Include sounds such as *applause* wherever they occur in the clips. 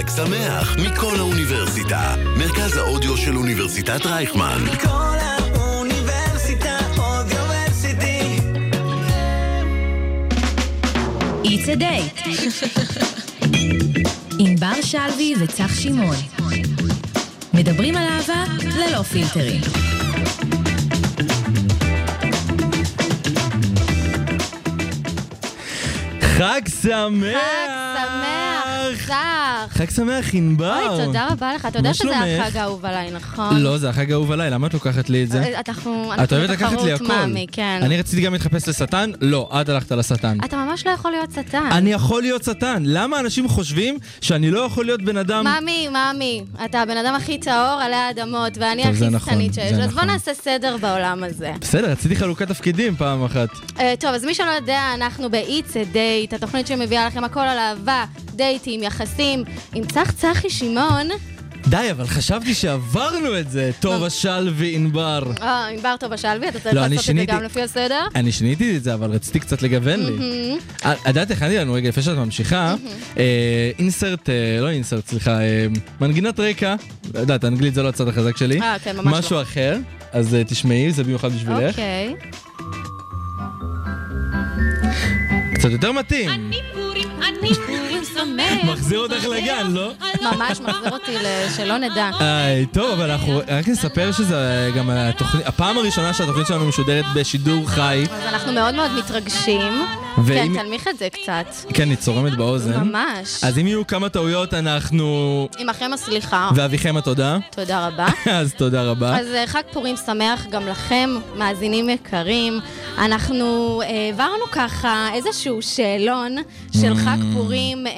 התנ"ך מכל האוניברסיטה. מרכז האודיו של אוניברסיטת רייכמן. כל האוניברסיטה אודיוורסיטי. It's a day. עם בר שלוי וצח שמעון. מדברים על אהבה ללא פילטרים. חג שמח! חג שמח, צח. חג שמח, ענבר! אוי, תודה רבה לך. אתה מה יודע שזה שלומך? החג האהוב עליי, נכון? לא, זה החג האהוב עליי, למה את לוקחת לי את זה? אה, אנחנו... את אוהבת לקחת לי תחרות, מאמי, הכל. כן. אני רציתי גם להתחפש לשטן, לא, את הלכת לשטן. אתה ממש לא יכול להיות שטן. אני יכול להיות שטן, למה אנשים חושבים שאני לא יכול להיות בן אדם... מאמי, מאמי, אתה הבן אדם הכי טהור עלי האדמות, ואני טוב, הכי זה נכון, שטנית שיש. זה אז בוא נכון. נעשה סדר בעולם הזה. בסדר, רציתי חלוקת תפקידים פעם אחת. אה, טוב, אז מי שלא יודע, אנחנו ב-It's a Date, התוכנית שמביאה לכם הכל על אהבה, דייטים, יחסים, עם צח צחי שמעון. די, אבל חשבתי שעברנו את זה, לא. טובה שלוי ענבר. אה, ענבר טובה שלוי, אתה צריך לא, אני לעשות את זה שיניתי. אה, גם לפי הסדר. אני שיניתי את זה, אבל רציתי קצת לגוון לי. אה, את יודעת, הכנתי לנו, רגע, לפני שאת ממשיכה, אה, אינסרט, אה, לא אינסרט, סליחה, אה, מנגינת רקע, את יודעת, אנגלית זה לא הצד החזק שלי. אה, כן, ממש לא. משהו אחר, אז אה, תשמעי, זה במיוחד בשבילך. אוקיי. קצת יותר מתאים. אני פורים, אני פורים שמח. *laughs* מחזיר אותך לגן, לא? ממש מחזיר אותי ל- שלא נדע. היי, טוב, אבל אנחנו רק נספר שזה אה, גם התוכנית, הפעם הראשונה שהתוכנית שלנו משודרת בשידור חי, אז אנחנו מאוד מאוד מתרגשים. ואם- כן, תנמיך את זה קצת. כן, היא צורמת באוזן. ממש. אז אם יהיו כמה טעויות, אנחנו... עם אחרי הסליחה. ואביכם התודה. תודה רבה. אז תודה רבה. אז אה, חג פורים שמח גם לכם, מאזינים יקרים. אנחנו אה, העברנו ככה איזשהו שאלון של חג פורים, אה,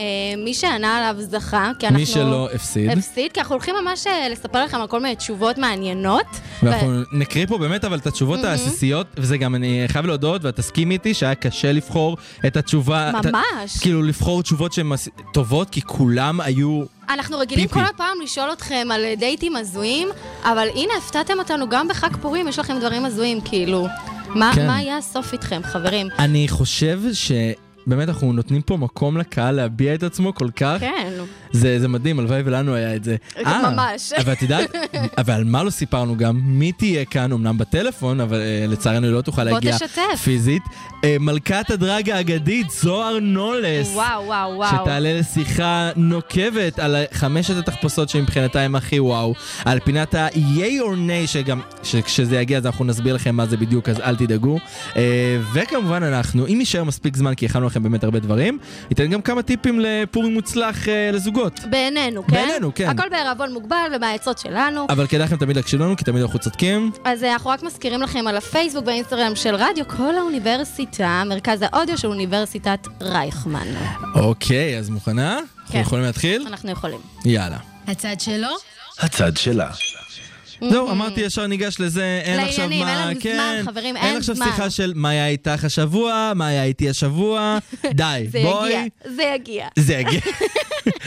מי שענה עליו זכה, כי אנחנו... Mm. מי שלא הפסיד. הפסיד, כי אנחנו הולכים ממש אה, לספר לכם על כל מיני תשובות מעניינות. ואנחנו נקריא פה באמת אבל את התשובות העסיסיות, וזה גם, אני חייב להודות, ואת תסכימי איתי שהיה קשה לבחור את התשובה. את ה- ממש. כאילו לבחור תשובות שהן עס- טובות, כי כולם היו... אנחנו רגילים פיפי. כל הפעם לשאול אתכם על דייטים הזויים, אבל הנה, הפתעתם אותנו גם בחג פורים, יש לכם דברים הזויים, כאילו. מה, כן. מה יהיה הסוף איתכם, חברים? אני חושב ש... באמת אנחנו נותנים פה מקום לקהל להביע את עצמו כל כך, כן. זה, זה מדהים, הלוואי ולנו היה את זה. אה, ממש. *laughs* אבל את יודעת, אבל מה לא סיפרנו גם, מי תהיה כאן, אמנם בטלפון, אבל אה, לצערנו היא לא תוכל בוא להגיע תשתף. פיזית, אה, מלכת הדרג האגדית, זוהר נולס. וואו, וואו, וואו. שתעלה לשיחה נוקבת על חמשת התחפושות שמבחינתה הם הכי וואו, על פינת ה-yay or nay, שגם, שכשזה יגיע אז אנחנו נסביר לכם מה זה בדיוק, אז אל תדאגו. אה, וכמובן אנחנו, אם יישאר מספיק זמן, כי הכנו לכם באמת הרבה דברים, ניתן גם כמה טיפים לפורים מוצלח אה, לזוגות. בעינינו, כן? בעינינו, כן. הכל בערבון מוגבל ובעצות שלנו. אבל כדאי לכם תמיד להקשיב לנו, כי תמיד אנחנו צודקים. אז אה, אנחנו רק מזכירים לכם על הפייסבוק והאינסטגרם של רדיו כל האוניברסיטה, מרכז האודיו של אוניברסיטת רייכמן. אוקיי, אז מוכנה? אנחנו כן. Mm-hmm. יכולים להתחיל? אנחנו יכולים. יאללה. הצד שלו? הצד שלה. זהו, אמרתי ישר ניגש לזה, אין לעניינים, עכשיו מה, אין לנו זמן, כן, חברים, אין אין עכשיו זמן. שיחה של מה היה איתך השבוע, מה היה איתי *laughs* השבוע, די, זה בואי. יגיע, זה יגיע. זה יגיע.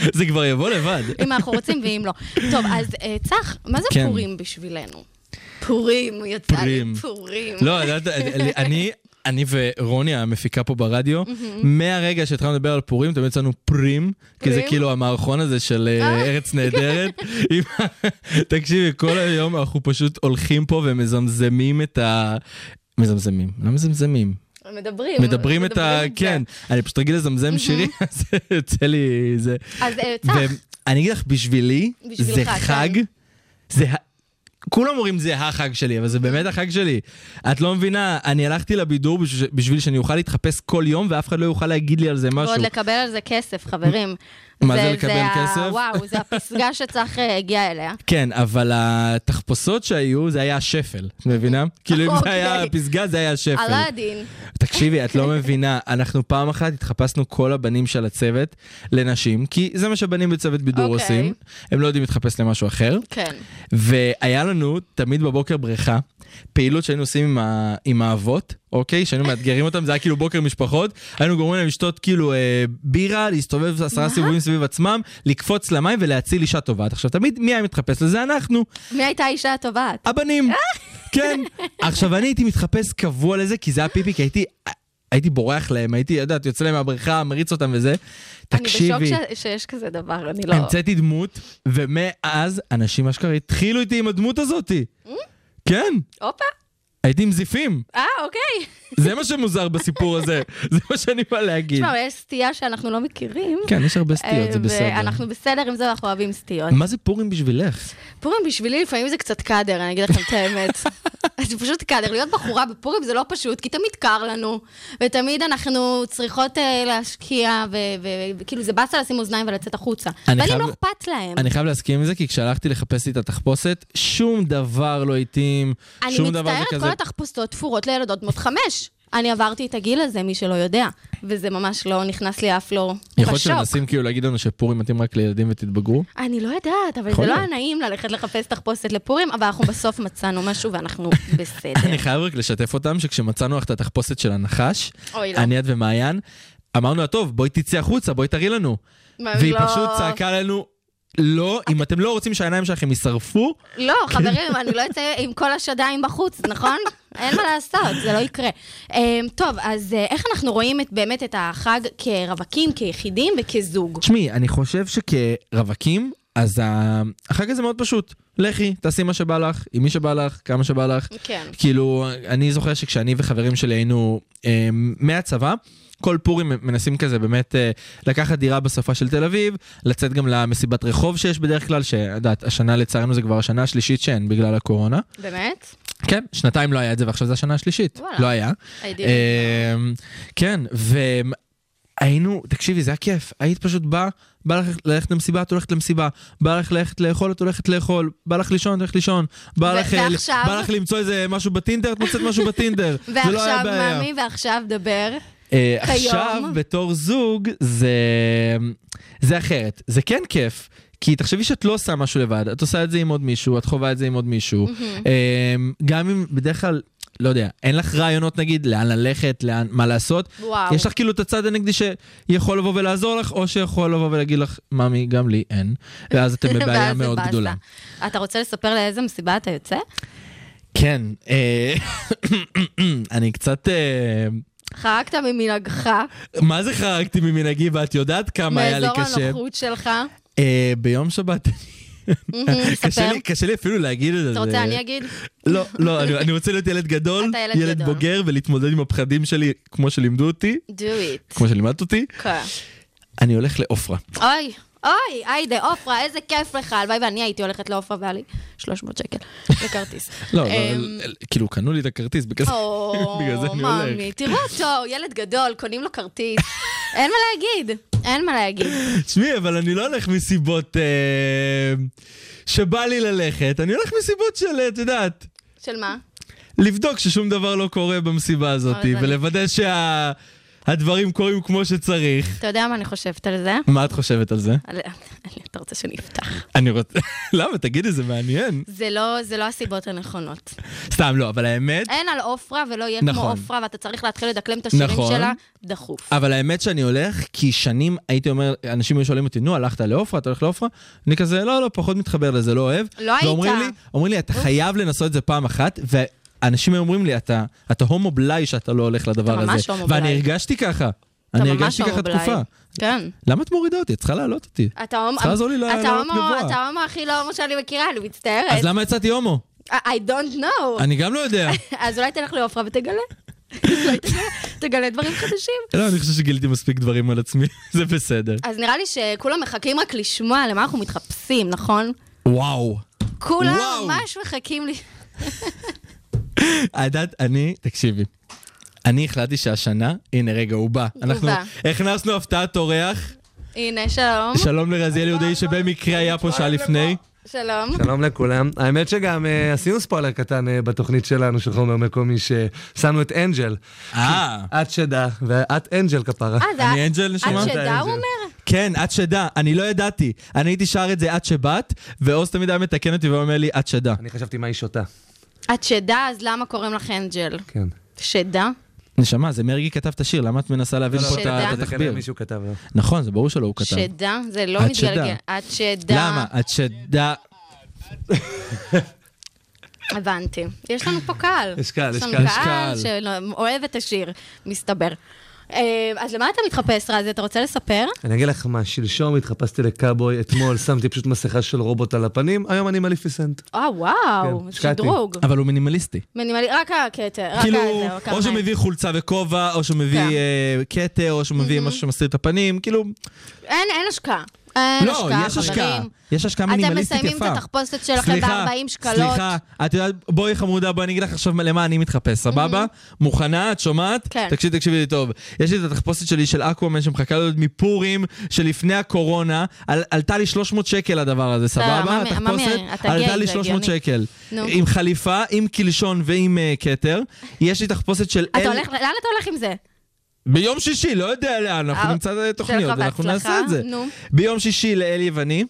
*laughs* זה כבר יבוא לבד. *laughs* אם אנחנו רוצים ואם לא. טוב, אז אה, צח, מה זה כן. פורים בשבילנו? פורים, יצא פורים. לי פורים. לא, את יודעת, אני... אני ורוני המפיקה פה ברדיו, מהרגע שהתחלנו לדבר על פורים, תמיד יצאנו פרים, כי זה פרים? כאילו המערכון הזה של אה, ארץ נהדרת. עם ה- תקשיבי, כל היום אנחנו פשוט הולכים פה ומזמזמים את ה... מזמזמים, לא מזמזמים, מדברים. מדברים את ה... זה. כן, אני פשוט רגיל לזמזם שירים, אז יוצא לי זה. אז אה, צח, ואני אגיד לך, בשבילי, בשבילך, זה כן. חג, זה... ה- כולם אומרים זה החג שלי, אבל זה באמת החג שלי. את לא מבינה, אני הלכתי לבידור בשביל- בשביל שאני אוכל להתחפש כל יום ואף אחד לא יוכל להגיד לי על זה משהו. ועוד לקבל על זה כסף, חברים. מה זה לקבל ה- כסף? וואו, זה הפסגה שצח אה, הגיע אליה. כן, אבל התחפושות שהיו, זה היה השפל, את *laughs* מבינה? כאילו אם זה היה אוקיי. הפסגה, זה היה השפל. אלאדין. תקשיבי, את לא אוקיי. מבינה, אנחנו פעם אחת התחפשנו כל הבנים של הצוות לנשים, כי זה מה שבנים בצוות בידור אוקיי. עושים, הם לא יודעים להתחפש למשהו אחר, כן. והיה לנו תמיד בבוקר בריכה, פעילות שהיינו עושים עם, ה... עם האבות, אוקיי? שהיינו מאתגרים אותם, זה היה כאילו בוקר משפחות, היינו גורמים להם לשתות כאילו אה, בירה, להסתובב עשרה סיבובים סביב עצמם, לקפוץ למים ולהציל אישה טובעת. עכשיו תמיד, מי היה מתחפש לזה? אנחנו. מי הייתה האישה הטובה? אה? הבנים. כן. עכשיו, אני הייתי מתחפש קבוע לזה, כי זה היה פיפי, כי הייתי... הייתי בורח להם, הייתי, יודעת, יוצא להם מהבריכה, מריץ אותם וזה. תקשיבי. אני בשוק ש- שיש כזה דבר, אני לא... המצאתי דמות, ומאז אנשים אשכרה התחילו איתי עם הדמות הזאתי. כן, הופה, הייתי עם זיפים. אה, אוקיי. זה מה שמוזר בסיפור הזה, *laughs* זה מה שאני בא להגיד. תשמע, אבל יש סטייה שאנחנו לא מכירים. כן, יש הרבה סטיות, זה אה, בסדר. ואנחנו בסדר עם זה, אנחנו אוהבים סטיות. מה זה פורים בשבילך? פורים בשבילי לפעמים זה קצת קאדר, אני אגיד לכם את *laughs* האמת. זה פשוט קאדר, להיות בחורה בפורים זה לא פשוט, כי תמיד קר לנו, ותמיד אנחנו צריכות אה, להשקיע, ו- ו- וכאילו זה באסה לשים אוזניים ולצאת החוצה. אני אבל אם חייב- לא אכפת להם. אני חייב להסכים עם זה, כי כשהלכתי לחפש לי את התחפושת, שום דבר לא התאים, אני שום דבר זה מצטערת, כזה. כל התחפושות תפורות לילדות בנות חמש. אני עברתי את הגיל הזה, מי שלא יודע, וזה ממש לא נכנס לי אף לא יכול להיות בשוק. שמנסים כאילו להגיד לנו שפורים מתאים רק לילדים ותתבגרו? אני לא יודעת, אבל יכול זה לא היה להיות. נעים ללכת לחפש תחפושת לפורים, אבל אנחנו בסוף מצאנו *laughs* משהו ואנחנו בסדר. אני חייב רק לשתף אותם שכשמצאנו לך את התחפושת של הנחש, אוי, לא. אני את ומעיין, אמרנו לה, טוב, בואי תצאי החוצה, בואי תראי לנו. מה, והיא לא. פשוט צעקה לנו, לא, אם אתם לא רוצים שהעיניים שלכם יישרפו, לא, חברים, אני לא אצא עם כל השדיים בחוץ, נכון? אין מה לעשות, זה לא יקרה. Um, טוב, אז uh, איך אנחנו רואים את, באמת את החג כרווקים, כיחידים וכזוג? תשמעי, אני חושב שכרווקים, אז ה- החג הזה מאוד פשוט. לכי, תעשי מה שבא לך, עם מי שבא לך, כמה שבא לך. כן. כאילו, אני זוכר שכשאני וחברים שלי היינו אה, מהצבא, כל פורים מנסים כזה באמת אה, לקחת דירה בסופה של תל אביב, לצאת גם למסיבת רחוב שיש בדרך כלל, שאת יודעת, השנה לצערנו זה כבר השנה השלישית שאין בגלל הקורונה. באמת? כן, שנתיים לא היה את זה ועכשיו זה השנה השלישית. וואלה. אה, לא היה. הייתי... אמ, כן, והיינו, תקשיבי, זה היה כיף. היית פשוט באה, בא לך ללכת למסיבה, את הולכת למסיבה. בא לך ללכת לאכול, את הולכת לאכול. בא לך לישון, את הולכת לישון. בא ו- לך, אה, ועכשיו? בא לך למצוא איזה משהו בטינדר, את מוצאת משהו בטינדר. זה לא *laughs* ועכשיו, היה בעיה. מאמי, ועכשיו דבר. אה, כיום? עכשיו, בתור זוג, זה... זה אחרת. זה כן כיף. כי תחשבי שאת לא עושה משהו לבד, את עושה את זה עם עוד מישהו, את חווה את זה עם עוד מישהו. אמ, גם אם בדרך כלל, לא יודע, אין לך רעיונות נגיד לאן ללכת, לאן, מה לעשות, וואו. יש לך כאילו את הצד הנגדי שיכול לבוא ולעזור לך, או שיכול לבוא ולהגיד לך, ממי, גם לי *laughs* אין. ואז אתם בבעיה ואז זה מאוד באסה. גדולה. אתה רוצה לספר לאיזה מסיבה אתה יוצא? כן, אה, *coughs* אני קצת... אה, חרגת ממנהגך, מה זה חרגתי ממנהגי ואת יודעת כמה היה לי מאזור קשה? הנוחות *laughs* שלך. אה, ביום שבת. מהמם, ספר. קשה לי- קשה לי אפילו להגיד את זה. אתה רוצה, אני אגיד? לא, לא, אני- אני רוצה להיות ילד גדול, אתה ילד ילד גדול. בוגר ולהתמודד עם הפחדים שלי כמו שלימדו אותי, do it. כמו שלימדת אותי. כן. אני הולך לעופרה. אוי, אוי, היידה, עופרה, איזה כיף לך. הלוואי ואני הייתי הולכת לעופרה והיה לי 300 שקל לכרטיס. *laughs* לא, לא, אמ, כאילו, קנו לי את הכרטיס, בגלל זה או, *laughs* בגלל זה אני הולך. מאמי, תראו אותו, ילד גדול, קונים *laughs* לו כרטיס. אין מה להגיד, אין מה להגיד. תשמעי, אבל אני לא הולך מסיבות אה, שבא לי ללכת, אני הולך מסיבות של, אה, את יודעת, של מה? לבדוק ששום דבר לא קורה במסיבה הזאת, אני- ולוודא שהדברים קורים כמו שצריך. אתה יודע מה אני חושבת על זה? מה את חושבת על זה? על- אתה רוצה שאני אפתח. אני רוצה... *laughs* למה? תגידי, זה מעניין. זה לא, זה לא הסיבות הנכונות. סתם לא, אבל האמת... אין על עופרה ולא יהיה כמו נכון. עופרה, ואתה צריך להתחיל לדקלם את השירים נכון. שלה דחוף. אבל האמת שאני הולך, כי שנים הייתי אומר, אנשים היו שואלים אותי, נו, הלכת לעופרה, אתה הולך לעופרה? אני כזה, לא, לא, פחות מתחבר לזה, לא אוהב. לא היית. ואומרים לי, אומרים לי, אתה חייב לנסות את זה פעם אחת, ואנשים היו אומרים לי, אתה, אתה הומו בלאי שאתה לא הולך לדבר אתה הזה. ממש הומו בלאי. ואני הרגשתי ככה. אתה אני ממש הרגשתי הומו ככה בלאי. תקופה. כן. למה את מורידה אותי? את צריכה להעלות אותי. אתה הומו, צריכה לעזור לי אתה לעלות הומו- גבוה. אתה ההומו הכי לא הומו שאני מכירה, אני מצטערת. אז למה יצאתי הומו? I don't know. אני גם לא יודע. *laughs* אז אולי תלך לעופרה ותגלה. *laughs* אולי תגלה- תגלה דברים חדשים. לא, אני חושב שגיליתי מספיק דברים על עצמי, *laughs* זה בסדר. אז נראה לי שכולם מחכים רק לשמוע למה אנחנו מתחפשים, נכון? וואו. כולם וואו. ממש מחכים לי... את יודעת, אני, תקשיבי. אני החלטתי שהשנה, הנה רגע, הוא בא. אנחנו בא. הכנסנו הפתעת אורח, הנה, שלום. שלום לרזיאל יהודי שבמקרה היה פה שעה לפני. שלום. *laughs* שלום לכולם. האמת שגם אה, עשינו ספוילר קטן אה, בתוכנית שלנו של חומר מקומי, ששמנו את אנג'ל. אה, את שדה, ואת אנג'ל כפרה. אה, זה... אני אנג'ל, עד נשמה? שדה הוא אומר? כן, את שדה, אני לא ידעתי. אני הייתי שר את זה עד שבאת, ועוז תמיד היה מתקן אותי ואומר לי, את שדה. אני חשבתי מה היא שותה. עד שדה, אז למה קוראים לך אנג'ל? כן. שדה? נשמה, זה מרגי כתב את השיר, למה את מנסה להבין לא, פה את ה- שדה. את זה כנראה התחביר? מישהו כתב לו. נכון, זה ברור שלא הוא כתב. שדה? זה לא עד מתגלגל. שדה. עד שדה. למה? את שדה... הבנתי. יש לנו פה קהל. יש קהל, יש יש קהל, לנו יש קהל קהל. שאוהב את השיר, מסתבר. אה, אז למה אתה מתחפש, רזי? אתה רוצה לספר? אני אגיד לך מה, שלשום התחפשתי לקאבוי, אתמול *laughs* שמתי פשוט מסכה של רובוט על הפנים, היום אני מליפיסנט. אה, וואו, כן, השקעתי. שדרוג. אבל הוא מינימליסטי. מינימלי, רק הכתר, רק כאילו, הזה, כמה או שהוא מהם. מביא חולצה וכובע, או שהוא מביא כן. Mhm. אה, כתר, או שהוא מביא משהו שמסתיר את הפנים, כאילו... אין, אין השקעה. אין לא, השקעה, יש השקעה. חברים. יש השקעה אתם מינימליסטית יפה. מסיימים את התחפושת שלכם סליחה, ב-40 שקלות. סליחה, את יודעת, בואי חמודה, בואי אני אגיד לך עכשיו למה אני מתחפש, סבבה? מוכנה? את שומעת? Mhm. כן. תקשיבי, תקשיבי לי טוב. יש לי את התחפושת שלי של אקוואמן שמחכה להיות מפורים שלפני הקורונה. על- עלתה לי 300 שקל הדבר הזה, לא, מה סבבה? מ- מה מ- התחפושת אתה גיי, עלתה זה לי 300 הגיוני. שקל. נו. עם חליפה, עם קלשון ועם אה, כתר. יש לי תחפושת של... אתה אל- הולך, לאן אתה הולך עם זה? ביום שישי, לא יודע לאן, אנחנו אה, נמצא את שיהיה התוכניות לך ואנחנו בהצלחה, נעשה את זה. נו. ביום שישי לאל יווני,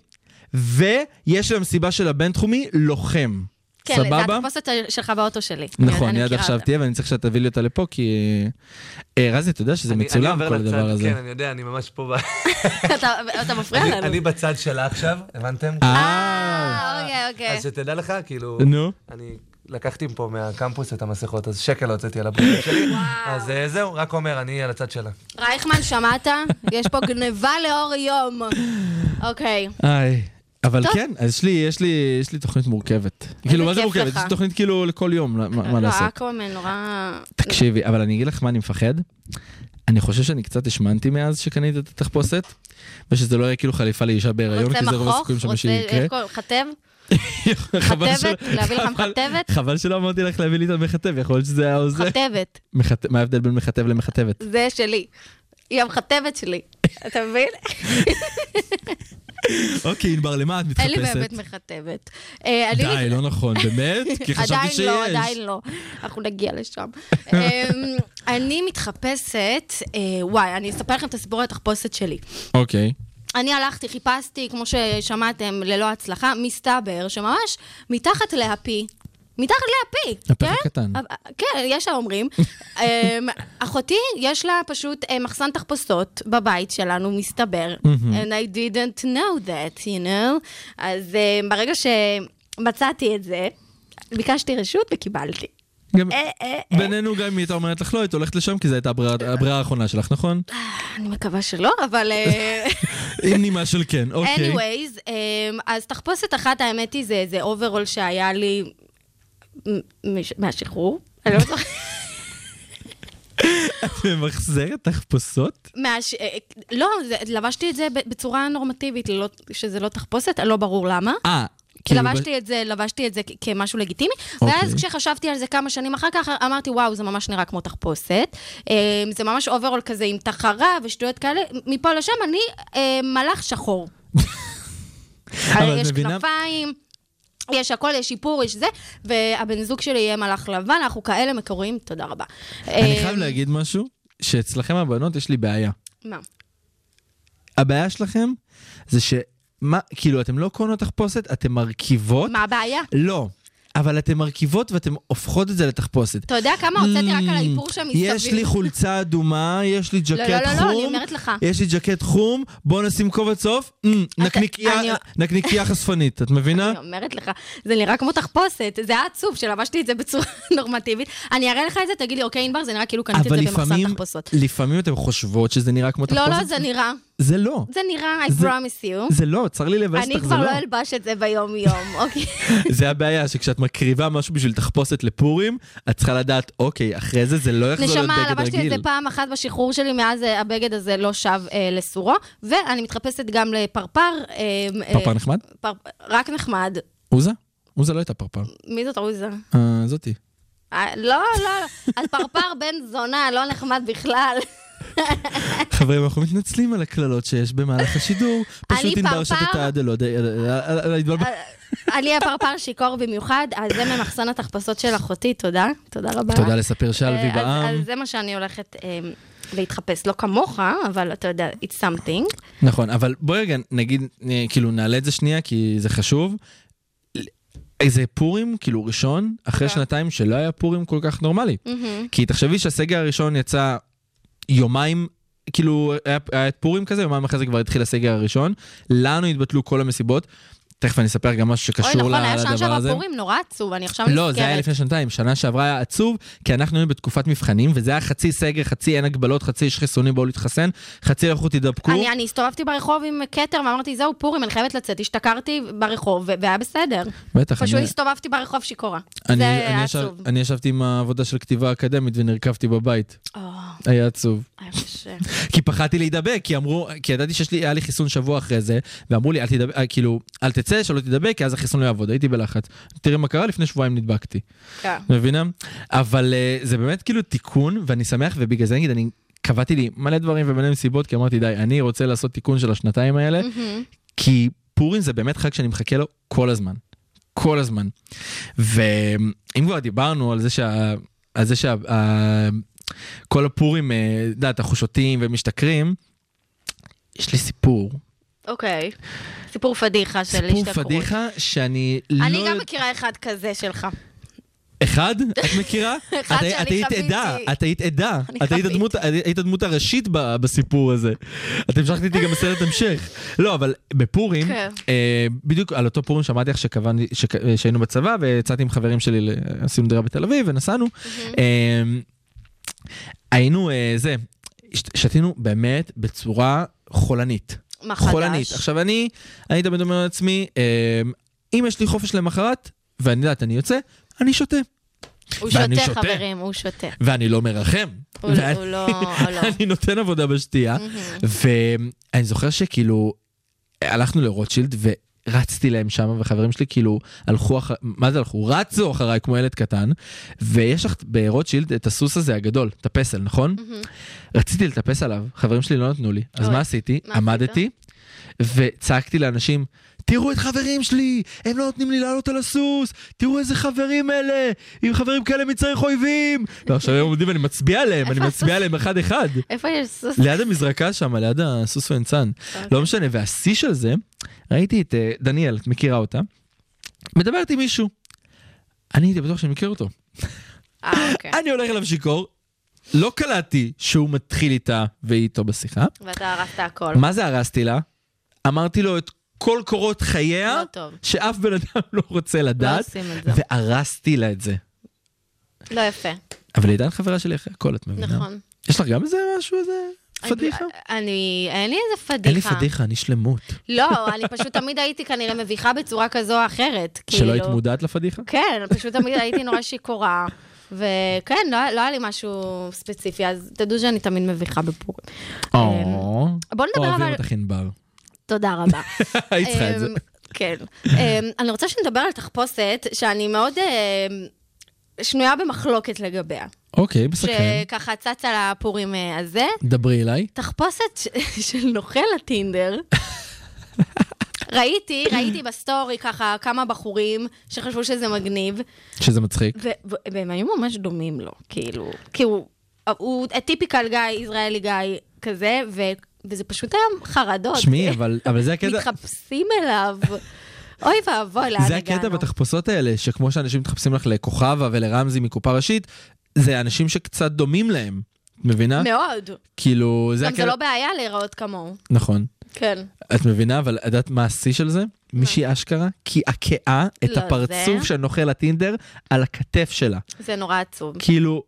ויש להם סיבה של הבינתחומי, לוחם. כן, זה סבבה? התחפושת שלך באוטו שלי. נכון, אני היא עד מכירה עכשיו אותה. תהיה, ואני צריך שאת תביא לי אותה לפה, כי... אה, רזי, אתה יודע שזה אני- אני מצולם, עובר כל לצד, הדבר הזה. כן, אני יודע, אני ממש פה. ב- *laughs* אתה- אתה מפריע אני- לנו. אני בצד שלה עכשיו, הבנתם? אה, אה, אוקיי, אוקיי. אז שתדע לך, כאילו, נו. אני לקחתי מפה מהקמפוס את המסכות, אז שקל לא הוצאתי על הבריאות שלי. אז אה, זהו, רק אומר, אני על הצד שלה. רייכמן, שמעת? יש פה גניבה לאור יום. אוקיי. איי. אבל טוב. כן, אז יש לי, יש לי, יש לי תוכנית מורכבת. כאילו, מה זה כיף מורכבת? לך. יש לי תוכנית כאילו לכל יום, מה- מה מה לא, לעשות? אקוומן נורא... תקשיבי, אבל אני אגיד לך מה אני מפחד. אני חושב שאני קצת השמנתי מאז שקנית את התחפושת, ושזה לא יהיה כאילו חליפה לאישה בהיריון, רוצה כי זה רוב מכוך? הסיכויים שמה רוצה שיקרה. איך קוראים? חטב? *laughs* חבל חטבת? שלא- להביא לך חבל- מחטבת? חבל שלא אמרתי לך להביא לי את המחטב, יכול להיות שזה היה עוזר. חטבת. מחט- מה ההבדל בין מחטב למחטבת? זה שלי. היא המחטבת שלי. אתה *laughs* מבין? אוקיי, ענבר, למה את מתחפשת? אין לי באמת מחטבת. אה, אני- די, לא נכון, באמת? כי חשבתי שיש. עדיין לא, עדיין לא. אנחנו נגיע *laughs* לשם. אמ, אני מתחפשת, אה, וואי, אני אספר לכם את הסיפור על התחפושת שלי. אוקיי. אני הלכתי, חיפשתי, כמו ששמעתם, ללא הצלחה, מסתבר שממש מתחת לאפי. מתחת לאפי, הפך כן? הקטן. אבל- כן, יש האומרים. אמ, אחותי, יש לה פשוט אה, מחסן תחפושות בבית שלנו, מסתבר. And I didn't know that, you know? אז אה, ברגע שמצאתי את זה, ביקשתי רשות וקיבלתי. גם- אה, אה, אה. בינינו, גם אם היא הייתה אומרת לך לא, היית הולכת לשם, כי זו הייתה הברירה הברירה האחרונה שלך, נכון? אני מקווה שלא, אבל... אה, עם נימה של כן, אוקיי. anyways, אמ, אז תחפושת אחת, האמת היא, זה איזה אוברול שהיה לי מ- מש- מהשחרור. אני לא זוכרת. *laughs* ממחזרת תחפושות? מהש... אה, לא, זה- לבשתי את זה ב- בצורה נורמטיבית, לא- שזה לא תחפושת, לא ברור למה. אה, כאילו... ב- לבשתי את זה, לבשתי את זה כ- כמשהו לגיטימי, אוקיי. ואז כשחשבתי על זה כמה שנים אחר כך, אמרתי, וואו, זה ממש נראה כמו תחפושת. אמ, זה ממש אוברול כזה עם תחרה ושטויות כאלה. מפה לשם אני אמ, מלאך *laughs* שחור. אה, אבל את יש מבינה- כנפיים, יש הכל, יש איפור, יש זה, והבן זוג שלי יהיה מלאך לבן, אנחנו כאלה מקוריים, תודה רבה. אני חייב אמ, להגיד משהו, שאצלכם הבנות יש לי בעיה. מה? הבעיה שלכם זה ש... מה, כאילו, אתם לא קונות תחפושת, אתם מרכיבות. מה הבעיה? לא. אבל אתן מרכיבות ואתן הופכות את זה לתחפושת. Mm, אתה יודע כמה הוצאתי רק על האיפור שם מסביב? יש לי חולצה אדומה, יש לי ג'קט לא, לא, לא, חום. אני אומרת לך. יש לי ג'קט חום, בוא נשים כובע צהוב, אמ, נקניקייה- אני- נקניקייה חשפנית, את מבינה? אני אומרת לך, זה נראה כמו תחפושת, זה היה עצוב שלבשתי את זה בצורה *laughs* נורמטיבית. אני אראה לך את זה, תגיד לי, אוקיי, ענבר, זה נראה כאילו קניתי את אבל זה במחסן לפעמים, תחפושות. לפעמים אתם חושבות שזה נראה כמו לא, תחפושת. לא, זה נראה, זה לא. זה נראה, I זה- promise you. זה לא, צר לי לבאס אני אותך, זה כבר לא. לא אלבש את זה *laughs* ביום-יום, אוקיי? זה הבעיה, שכשאת מקריבה משהו בשביל תחפושת לפורים, את צריכה לדעת, אוקיי, אחרי זה זה לא יחזור להיות נשמה, בגד לבשתי את רגיל. זה פעם אחת בשחרור שלי, מאז אה, הבגד הזה לא שב אה, לסורו, ואני מתחפשת גם לפרפר. אה, אה, פרפר נחמד? פר- רק נחמד. עוזה? עוזה לא הייתה פרפר. מי זאת עוזה? אה, זאתי. אה, לא, לא, אז פרפר בן זונה, לא נחמד בכלל. חברים, אנחנו מתנצלים על הקללות שיש במהלך השידור. פשוט אני ענבר פרפר. שתתה עד הלא אה, יודע, על ההתבלבל. עלי הפרפר שיכור במיוחד, אז זה ממחסן התחפושות של אחותי, תודה. תודה רבה. תודה לספיר שלוי אה, אז- בעם. אז זה מה שאני הולכת אה, להתחפש. לא כמוך, אבל אתה יודע, it's something. נכון, אבל בואי רגע נגיד, אה, כאילו נעלה את זה שנייה, כי זה חשוב. איזה פורים, כאילו ראשון, אחרי לא. שנתיים שלא היה פורים כל כך נורמלי. כי תחשבי שהסגר הראשון יצא יומיים, כאילו היה היה את פורים כזה, יומיים אחרי זה כבר התחיל הסגר הראשון. לנו התבטלו כל המסיבות. תכף אני אספר גם משהו אוי, שקשור נכון, ל- היה לדבר שנה שעברה הזה. פורים, נורא עצוב, אני עכשיו לא, זה היה נזכרת. לפני שנתיים. שנה שעברה היה עצוב, כי אנחנו היינו בתקופת מבחנים, וזה היה חצי סגר, חצי אין הגבלות, חצי יש חיסונים, בואו להתחסן, חצי לכו תידבקו. אני, אני הסתובבתי ברחוב עם כתר ואמרתי, זהו, פורים, אני חייבת לצאת. השתכרתי ברחוב, ו- והיה בסדר. בטח, פשוט אני- הסתובבתי ברחוב שיכורה. אני- זה אני היה ישב- עצוב. אני ישבתי עם העבודה של כתיבה אקדמית ונרקבתי בבית. או, היה עצוב. היה קשה. כי פחדתי להידבק, כי אמרו, כי ידעתי שיש לי, היה לי חיסון שבוע אחרי זה, ואמרו לי, אל תידבק, אה, כאילו, אל תצא, שלא תידבק, כי אז החיסון לא יעבוד, הייתי בלחץ. תראה מה קרה, לפני שבועיים נדבקתי. כן. מבינה? אבל אה, זה באמת כאילו תיקון, ואני שמח, ובגלל זה נגיד, אני קבעתי לי מלא דברים ומלא סיבות, כי אמרתי, די, אני רוצה לעשות תיקון של השנתיים האלה, כי פורים זה באמת חג שאני מחכה לו כל הזמן. כל הזמן. ואם כבר דיברנו על זה שה... על זה שה... ה- כל הפורים, אה, את יודעת, אנחנו שותים ומשתכרים, יש לי סיפור. אוקיי. סיפור פדיחה של סיפור השתכרות. פדיחה שאני לא... אני גם יודע- מכירה אחד כזה שלך. אחד? את מכירה? *laughs* אחד את- שאני את היית חוויתי. עדה, את היית עדה. אני את היית חוויתי. הדמות- את היית הדמות הראשית ב- בסיפור הזה. את המשכת איתי גם בסרט המשך. לא, אבל בפורים, כן. אה, בדיוק על אותו פורים שמעתי לך שקבענו- שק- אה, שהיינו בצבא, ויצאתי עם חברים שלי, ל- עשינו דירה בתל אביב ונסענו. אה, היינו אה, זה, שת- שתינו באמת בצורה חולנית. מה חדש? חולנית. עכשיו אני, אני תמיד אומר לעצמי, אה, אם יש לי חופש למחרת, ואני יודעת, אני יוצא, אני שותה. הוא ואני שותה, שותה. חברים, הוא שותה. ואני לא מרחם. הוא *laughs* לא- ואני- הוא לא... הוא לא. אני נותן עבודה בשתייה. ואני זוכר שכאילו, הלכנו לרוטשילד ורצתי להם שם, וחברים שלי כאילו הלכו, אח... מה זה הלכו? רצו אחריי כמו ילד קטן, ויש לך ברוטשילד את הסוס הזה הגדול, את הפסל, נכון? רציתי לטפס עליו, חברים שלי לא נתנו לי, אז אוי, מה עשיתי? מה עשית? עמדתי וצעקתי לאנשים, תראו את חברים שלי, הם לא נותנים לי לעלות על הסוס, תראו איזה חברים אלה, עם חברים כאלה מי צריך אויבים. ועכשיו הם עומדים ואני מצביע עליהם, אני איפה מצביע הסוס? עליהם אחד-אחד. איפה יש סוס? ליד המזרקה שם, ליד הסוס והניצן. לא משנה, והשיא של זה, ראיתי את אה, דניאל, את מכירה אותה, מדברת עם מישהו. אני הייתי בטוח שאני מכיר אותו. *laughs* אה, אוקיי. אני הולך אליו שיכור, לא קלטתי שהוא מתחיל איתה והיא איתו בשיחה. ואתה הרסת הכל. מה זה הרסתי לה? אמרתי לו את כל קורות חייה, לא טוב. שאף בן אדם לא רוצה לא לדעת, עושים את זה. והרסתי לה את זה. לא יפה. אבל היא עדיין חברה שלי אחרי הכל, את מבינה? נכון. יש לך גם איזה משהו, איזה פדיחה? אני... אין לי איזה פדיחה. אין לי פדיחה, אני שלמות. לא, אני פשוט תמיד הייתי כנראה מביכה בצורה כזו או אחרת. שלא היית כאילו. מודעת לפדיחה? כן, פשוט תמיד הייתי נורא שיכורה. וכן, לא, לא היה לי משהו ספציפי, אז תדעו שאני תמיד מביכה בפורים. או, בוא נדבר אוהבים כן. אבל- אותך *laughs* ענבר. תודה רבה. היית צריכה את זה. אמ, כן. אמ, אני רוצה שנדבר על תחפושת שאני מאוד אמ, שנויה במחלוקת לגביה. אוקיי, בסכם. שככה צצה לפורים אה, הזה. דברי אליי. תחפושת ש- *laughs* של נוכל הטינדר. ראיתי, ראיתי בסטורי ככה כמה בחורים שחשבו שזה מגניב, שזה מצחיק. ו- ו- והם היו ממש דומים לו, כאילו, כי הוא, הוא הטיפיקל גיא, ישראלי גיא כזה, ו- וזה פשוט היה חרדות. שמי, אבל אבל זה הקטע... מתחפשים *laughs* אליו. אוי ואבוי, לאן הגענו. זה הקטע בתחפושות האלה, שכמו שאנשים מתחפשים לך לכוכבה ולרמזי מקופה ראשית, זה אנשים שקצת דומים להם, מבינה? מאוד. כאילו, זה גם זה הקטע... לא בעיה להיראות כמוהו. נכון. כן. את מבינה, אבל את יודעת מה השיא של זה? מישהי אשכרה קעקעה את לא, הפרצוף זה- של נוכל הטינדר על הכתף שלה. זה נורא עצוב. כאילו,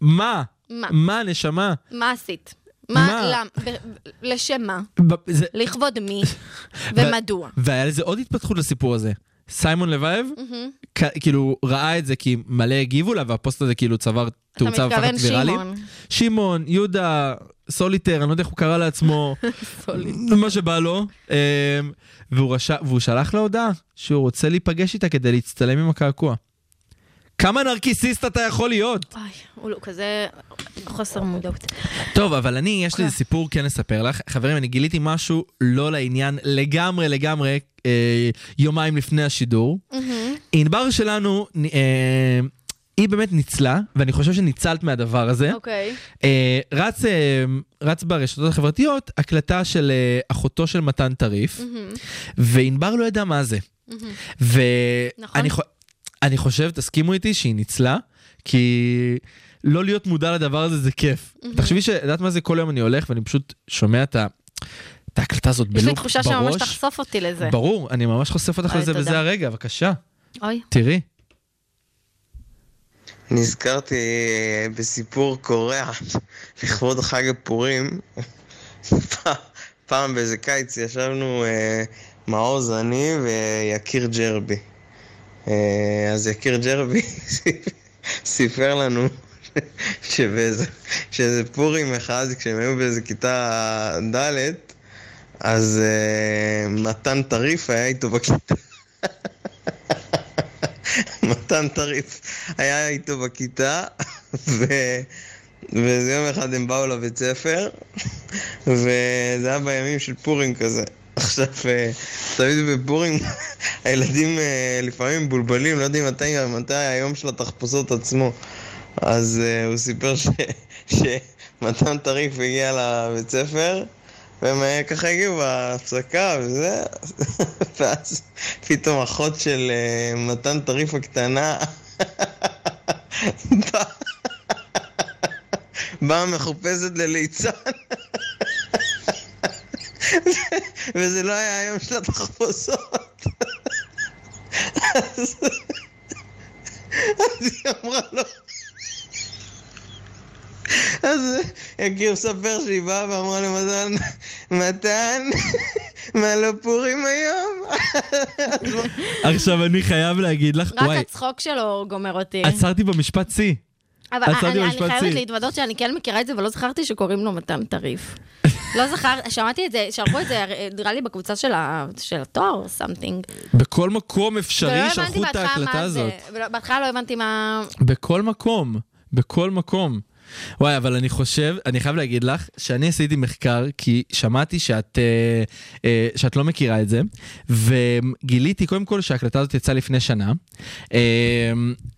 מה? מה? מה, נשמה? מה עשית? מה? מה? למה? ב- לשם מה? ב- זה- לכבוד *laughs* מי? ומדוע? והיה לזה עוד התפתחות לסיפור הזה. סיימון לבייב, כ- כאילו, ראה את זה כי מלא הגיבו לה, והפוסט הזה כאילו צבר תאוצה מתכוון והפכת ויראלית. שמעון. שמעון, יהודה, סוליטר, אני לא יודע איך הוא קרא לעצמו, מה שבא לו. אמ, והוא, רש... והוא שלח לה הודעה שהוא רוצה להיפגש איתה כדי להצטלם עם הקעקוע. כמה נרקיסיסט אתה יכול להיות? אוי, הוא לא כזה חוסר מודעות. כן. טוב, אבל אני, יש לי איזה סיפור כן לספר לך. חברים, אני גיליתי משהו לא לעניין לגמרי לגמרי אה, יומיים לפני השידור. ענבר שלנו, אה, היא באמת ניצלה, ואני חושב שניצלת מהדבר הזה. אוקיי. אה, רץ, אה, רץ ברשתות החברתיות הקלטה של אה, אחותו של מתן טריף, וענבר לא ידעה מה זה. נכון. ואני חו- אני חושב, תסכימו איתי, שהיא ניצלה, כי לא להיות מודע לדבר הזה זה כיף. תחשבי שאת יודעת מה זה, כל יום אני הולך ואני פשוט שומע את ה... את את ההקלטה הזאת בלופ יש בראש. לי תחושה שממש תחשוף אותי לזה. ברור, אני ממש חושף אותך אוי, לזה בזה תודה. הרגע, בבקשה. אוי, תראי. נזכרתי אה, בסיפור קורע לכבוד חג הפורים. *laughs* פ- פעם באיזה קיץ ישבנו אה, מעוז אני ויקיר ג'רבי. אה, אז יקיר ג'רבי *laughs* סיפר לנו *laughs* שבאיזה שאיזה פורים אחד, כשהם היו באיזה כיתה ד', אז אה, מתן טריף היה איתו בכיתה. מתן טריף היה איתו בכיתה, ו... ואיזה יום אחד הם באו לבית ספר, וזה היה בימים של פורים כזה. עכשיו, אה, תמיד בפורים הילדים אה, לפעמים מבולבלים, לא יודעים מתי, מתי היום של התחפושות עצמו. אז אה, הוא סיפר ש... שמתן טריף הגיע לבית ספר, והם אה, ככה הגיעו בהפסקה וזה, *laughs* ואז פתאום אחות של אה, מתן טריף הקטנה *laughs* באה- *laughs* באה מחופשת לליצן. *laughs* וזה לא היה היום של התחפושות. *laughs* אז אז היא אמרה "לא, לו... אז יקיר ספר שהיא באה ואמרה למתן, מתן, מה לא פורים היום? עכשיו אני חייב להגיד לך, רק וואי, הצחוק שלו גומר אותי. עצרתי במשפט שיא. אבל עצרתי אני, אני במשפט חייבת צי. להתוודות שאני כן מכירה את זה, ולא זכרתי שקוראים לו מתן *laughs* טריף. לא זכר, שמעתי את זה, שלחו את זה, נראה לי בקבוצה של, ה, של התואר או סמטינג. בכל מקום אפשרי ולא לא הבנתי שלחו את בהתחלה ההקלטה מה הזאת. זה. ולא- בהתחלה לא הבנתי מה... בכל מקום, בכל מקום. וואי, אבל אני חושב, אני חייב להגיד לך, שאני עשיתי מחקר, כי שמעתי שאת, אה, אה, שאת לא מכירה את זה, וגיליתי קודם כל שההקלטה הזאת יצאה לפני שנה. אה,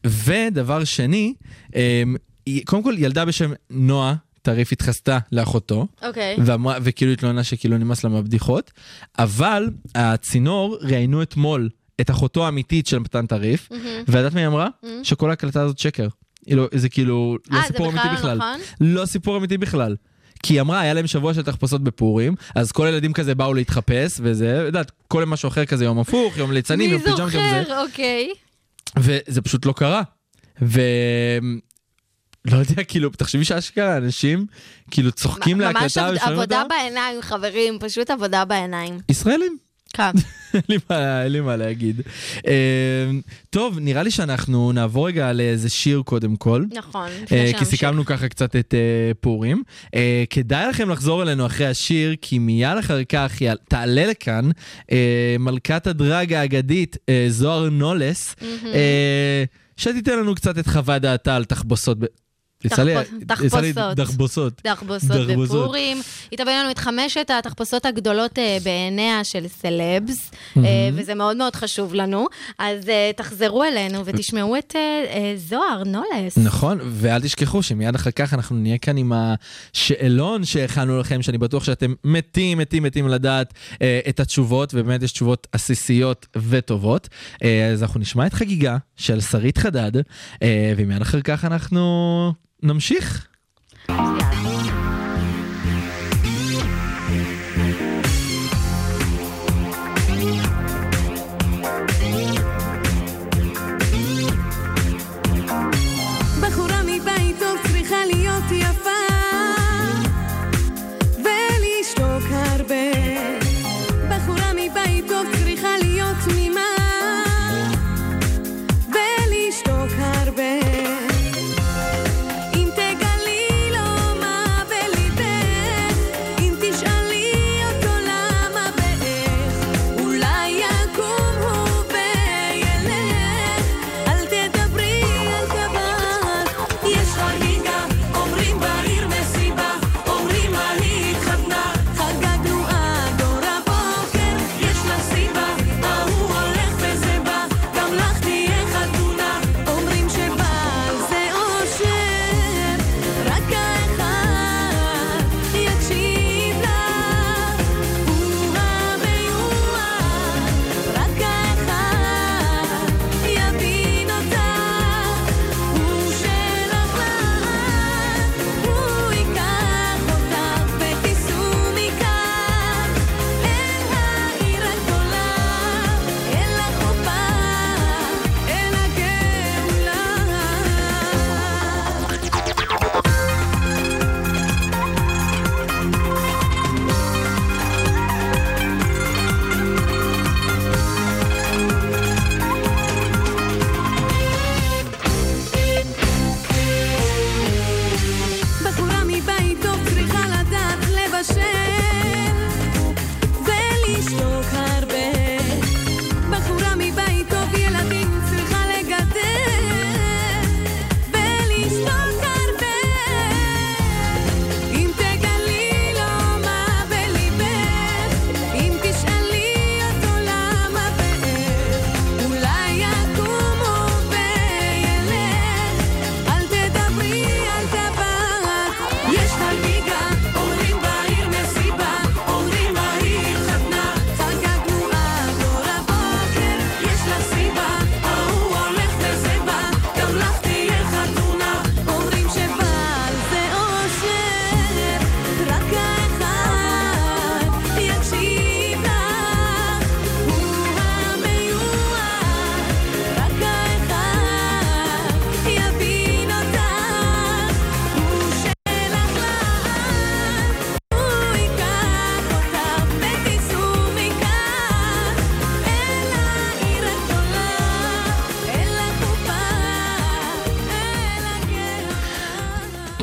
ודבר שני, אה, היא- קודם כל ילדה בשם נועה טריף התחסתה לאחותו. אוקיי. ואמרה, וכאילו התלוננה שכאילו נמאס לה מהבדיחות, אבל הצינור ראיינו אתמול את אחותו האמיתית של מתן טריף, ואת יודעת מה היא אמרה? שכל ההקלטה הזאת שקר. היא לא, זה כאילו לא אה, זה סיפור אמיתי בכלל לא בכלל. נכון? לא סיפור אמיתי בכלל. כי היא אמרה, היה להם שבוע של תחפושות בפורים, אז כל הילדים כזה באו להתחפש, וזה, את יודעת, כל יום משהו אחר כזה, יום הפוך, יום ליצנים, מי יום פיג'מות, יום זה, זוכר, אוקיי. וזה פשוט לא קרה. ו... לא יודע, כאילו, תחשבי שאשכרה אנשים, כאילו, צוחקים להקלטה, ממש עבוד- ושומעים עבודה אותה. בעיניים, חברים, פשוט עבודה *laughs* בעיניים. ישראלים. כן. אין לי מה- אין לי מה להגיד. אה, טוב, נראה לי שאנחנו נעבור רגע לאיזה שיר קודם כל. נכון, אה, לפני כי שנמשיך. סיכמנו ככה קצת את אה, פורים. אה, כדאי לכם לחזור אלינו אחרי השיר, כי מיד אחר כך יעל- תעלה לכאן אה, מלכת הדרג האגדית אה, זוהר נולס, אה, שתיתן לנו קצת את חוות דעתה על תחבוסות. ב- יצא לי- תחפוש- יצא לי תחפושות. דחבוסות. תחפושות דרבוזות. בפורים. היא תביא לנו את חמשת התחפושות הגדולות אה, בעיניה של סלבס, אה, וזה מאוד מאוד חשוב לנו. אז אה, תחזרו אלינו ותשמעו את אה, אה, זוהר נולס. נכון, ואל תשכחו שמיד אחר כך אנחנו נהיה כאן עם השאלון שהכנו לכם, שאני בטוח שאתם מתים, מתים, מתים לדעת אה, את התשובות, ובאמת יש תשובות עסיסיות וטובות. אה, אז אנחנו נשמע את חגיגה של שרית חדד, אה, ומיד אחר כך אנחנו נמשיך. בחורה מבית טוב צריכה להיות יפה ולשתוק הרבה בחורה מבית טוב צריכה להיות תמימה ולשתוק הרבה אם תגלי לו מה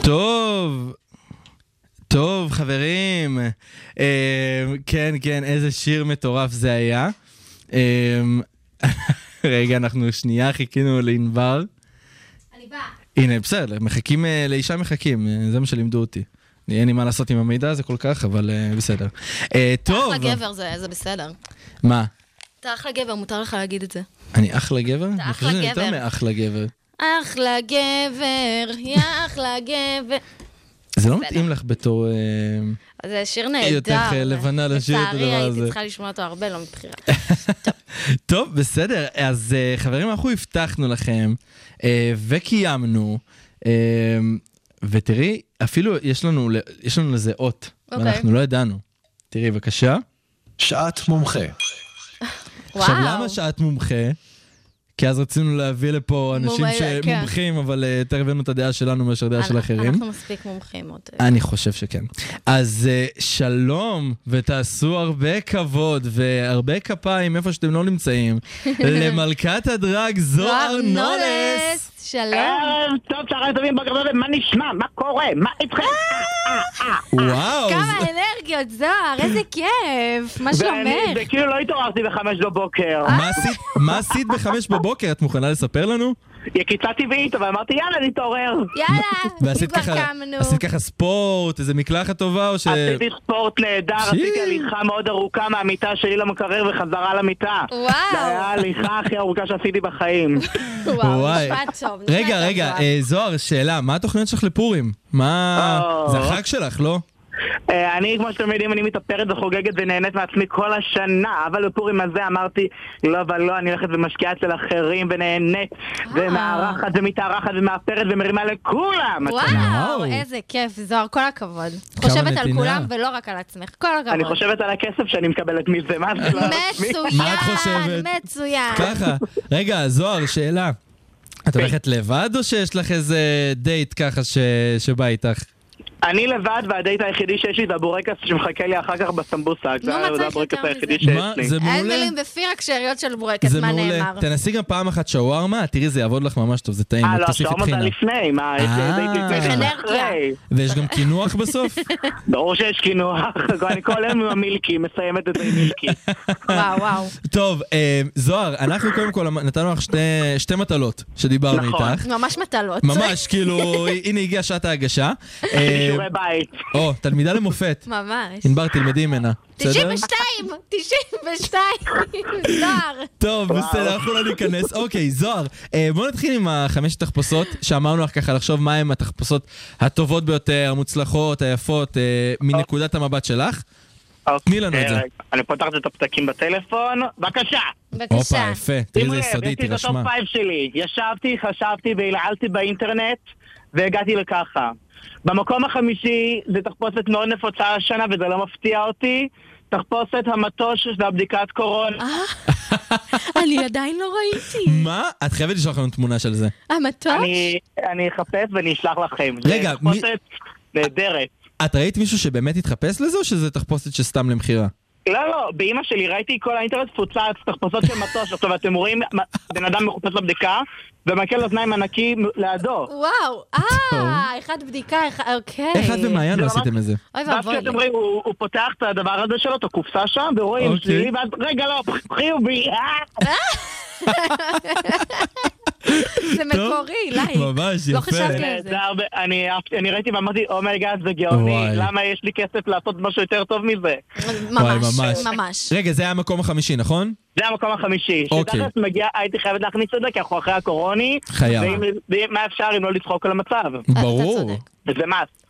טוב. טוב, חברים. אה, כן, כן, איזה שיר מטורף זה היה. אה, *laughs* רגע, אנחנו שנייה חיכינו לענבר. אני באה. הנה, בסדר, מחכים, אה, לאישה מחכים, אה, זה מה שלימדו אותי. אין לי מה לעשות עם המידע הזה כל כך, אבל אה, בסדר. אה, טוב. אחלה גבר, זה זה בסדר. מה? אתה אחלה גבר, מותר לך להגיד את זה. אני אחלה גבר? אתה אני חושב אחלה שאני יותר גבר. מאחלה גבר. אחלה גבר, יא אחלה גבר. זה לא בסדר. מתאים לך בתור... אה, זה שיר נהדר. יותר, אה, לבנה לשיר את הדבר לצערי הזה. הייתי צריכה לשמוע אותו הרבה, לא מבחירה. טוב, בסדר. אז אה, חברים, אנחנו הבטחנו לכם אה, וקיימנו, אה, ותראי, אפילו יש לנו, ל- יש לנו לזה אות, אוקיי. ואנחנו לא ידענו. תראי, בבקשה. שעת מומחה. וואו. עכשיו, למה שאת מומחה? כי אז רצינו להביא לפה אנשים מומחה, כן. שמומחים, אבל אה, יותר הבאנו את הדעה שלנו מאשר דעה של אנ- אחרים. אה, אנחנו מספיק מומחים עוד. אני חושב שכן. אז uh, שלום, ותעשו הרבה כבוד והרבה כפיים איפה שאתם לא *laughs* נמצאים, למלכת הדרג זוהר נולס. שלום. טוב, צהריים טובים, בוקר טוב, מה נשמע? מה קורה? מה איתכם? אה, וואו, כמה ז- אנרגיות, זוהר, איזה כיף. מה ואני- שלומך? וכאילו לא התעוררתי בחמש בבוקר. מה עשית- מה עשית בחמש בבוקר? את מוכנה לספר *laughs* לנו? קיצה טבעית, אבל אמרתי יאללה, נתעורר. יאללה, ועשית כבר ככה, קמנו. עשית ככה ספורט, איזה מקלחת טובה, או ש... עשיתי ספורט נהדר, שיר. עשיתי הליכה מאוד ארוכה מהמיטה שלי למקרר וחזרה למיטה. זו וואו, הייתה ההליכה הכי ארוכה שעשיתי בחיים. וואו, וואי. נשמע טוב. נשמע רגע, טוב, רגע, זוהר. אה, זוהר, שאלה, מה התוכניות שלך לפורים? מה... או. זה החג שלך, לא? אה, אני, כמו שאתם יודעים, אני מתאפרת וחוגגת ונהנית מעצמי כל השנה, אבל בפורים הזה אמרתי, לא ולא, אני הולכת ומשקיעה אצל אחרים ונהנית, אה. ומארחת ומתארחת ומאפרת ומרימה לכולם. וואו, וואו. איזה כיף, זוהר, כל הכבוד. חושבת על נתינה. כולם ולא רק על עצמך, כל הכבוד. אני חושבת על הכסף שאני מקבלת מזה, מה זה לא על עצמי? מה את חושבת? מצוין, מצוין. ככה. רגע, זוהר, שאלה. את הולכת לבד או שיש לך איזה דייט ככה ש... שבא איתך? אני לבד, והדייט היחידי שיש לי זה הבורקס שמחכה לי אחר כך בסמבוסק. נו, מצא זה- זה הבורקס לא יותר היחידי מזה. שיש מה? לי. זה אין מעולה. מילים בפי, רק שאריות של בורקס, זה מה מעולה. נאמר. תנסי גם פעם אחת שווארמה, תראי, זה יעבוד לך ממש טוב, זה טעים. אה, רק לא, תוסיפי השעון טחינה. זה לפני, מה, יש אה. לי דייט לפני, צריך זה אנרגיה. אחרי. ויש גם קינוח בסוף? *laughs* ברור שיש קינוח, *laughs* אני כל היום עם המילקי, מסיימת את זה עם מילקי. וואו, וואו. טוב, אה, זוהר, אנחנו קודם כל אמ- נתנו לך שתי- שתי מטלות שדיברנו נכון. איתך. ממש מטלות. ממש, כאילו, *laughs* הנה הגיעה שעת ההגשה. אה, שיעורי בית. או, תלמידה למופת. ממש. ענבר, תלמדי ממנה, בסדר? 92! 92! *laughs* זוהר! טוב, בסדר, אנחנו לא ניכנס. אוקיי, זוהר, אה, בוא נתחיל עם החמש תחפושות שאמרנו לך ככה לחשוב מהן התחפושות הטובות ביותר, המוצלחות, היפות, אה, מנקודת המבט שלך. תני לנו את זה. אוקיי, אני פותחת את הפתקים בטלפון, בבקשה. בבקשה. הופה, יפה, תראי שימו איזה לב, יש יסודי, לי את הטופ תירשמה. פייב שלי. ישבתי, חשבתי והלעלתי באינטרנט, והגעתי לככה. במקום החמישי, זו תחפושת מאוד נפוצה השנה, וזה לא מפתיע אותי, תחפושת המטוש והבדיקת קורונה. אני עדיין לא ראיתי. מה? את חייבת לשלוח לנו תמונה של זה. אה, המטוש? אני- אני אחפש ואני אשלח לכם. רגע, זו תחפושת נהדרת. את ראית מישהו שבאמת התחפש לזה, או שזה תחפושת שסתם למכירה? לא, לא, באימא שלי ראיתי כל האינטרנט פוצץ, תחפושות של מטוש. עכשיו, אתם רואים, בן אדם מחופש לבדיקה, ומקל אוזניים ענקי לידו. וואו, אה, אחד בדיקה, אחד, אוקיי. איך את ומעיין לא זה ממש- עשיתם את זה? אוי ואז ואבוי כשאתם לי. רואים, הוא הוא פותח את הדבר הזה שלו, את הקופסה שם, ורואים אוקיי. שלילי, ואז, רגע, לא, חיובי, אה! זה *laughs* מקורי, לייק. ממש, לא יפה. חשבתי על זה. זה הרבה- אני אהבתי- אני ראיתי ואמרתי, אומייגאד, זה גאוני, וואי. למה יש לי כסף לעשות משהו יותר טוב מזה? וואי, ממש, ממש. ממש. רגע, זה היה המקום החמישי, נכון? זה המקום החמישי. אוקיי. שתכלס מגיע, הייתי חייבת להכניס את זה, כי אנחנו אחרי הקורוני. חייב. ואם- ואם- מה אפשר אם לא לצחוק על המצב? ברור. צודק. זה מס.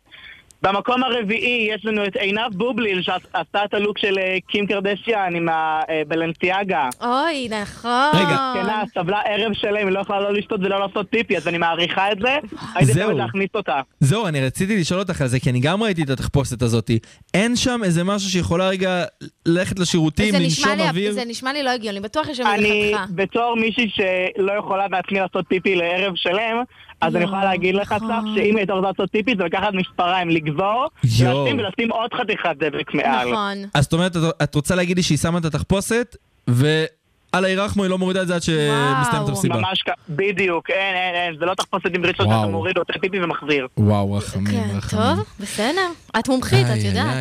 במקום הרביעי יש לנו את עינב בובליל שעשתה את הלוק של אה, קים קרדשיאן עם אה, הבלנסיאגה. אוי, נכון. רגע. כנה, כן, אה, סבלה ערב שלם, היא לא יכולה לא לשתות ולא לעשות פיפי, אז אני מעריכה את זה. הייתי זהו. חייבת להכניס אותה. זהו, אני רציתי לשאול אותך על זה, כי אני גם ראיתי את התחפושת הזאת. אין שם איזה משהו שיכולה רגע ללכת לשירותים, זה נשמע לנשום לי- אוויר? זה נשמע לי לא הגיוני, בטוח יש שם איזה אני, חתיכה. בתור מישהי שלא יכולה בעצמי לעשות פיפי לערב שלם, אז אני יכולה להגיד לך, נכון. צח, שאם היא הייתה רוצה לעשות פיפי, זה לקחת מספריים, לגזור, יואו. לשים ולשים עוד חתיכת דבק מעל. נכון. אז זאת אומרת, את- את רוצה להגיד לי שהיא שמה את התחפושת, ו... על הירחמו היא לא מורידה את זה עד שמסתיימת המסיבה. ממש כ... בדיוק, אין, אין, אין, זה לא תחפושת עם דרישות וואו. שאתה מוריד, עושה פיפי ומחזיר. וואו, רחמים, כן, רחמים. טוב, בסדר. את מומחית, את יודעת.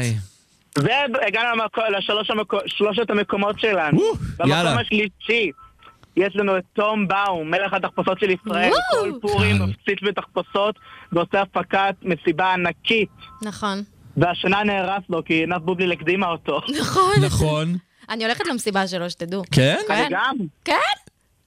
והגענו למקו- לשלוש המקו- שלושת המקומות שלנו. יאללה. במקום השלישי, יש לנו את תום באום, מלך התחפושות של ישראל. וואו. כל פורים מפציץ בתחפושות, ועושה הפקת מסיבה ענקית. נכון. *laughs* והשנה נהרס לו, כי עינת בובליל הקדימה אותו. נכון. נכון. אני הולכת למסיבה שלו, שתדעו. *laughs* כן? אני גם. כן?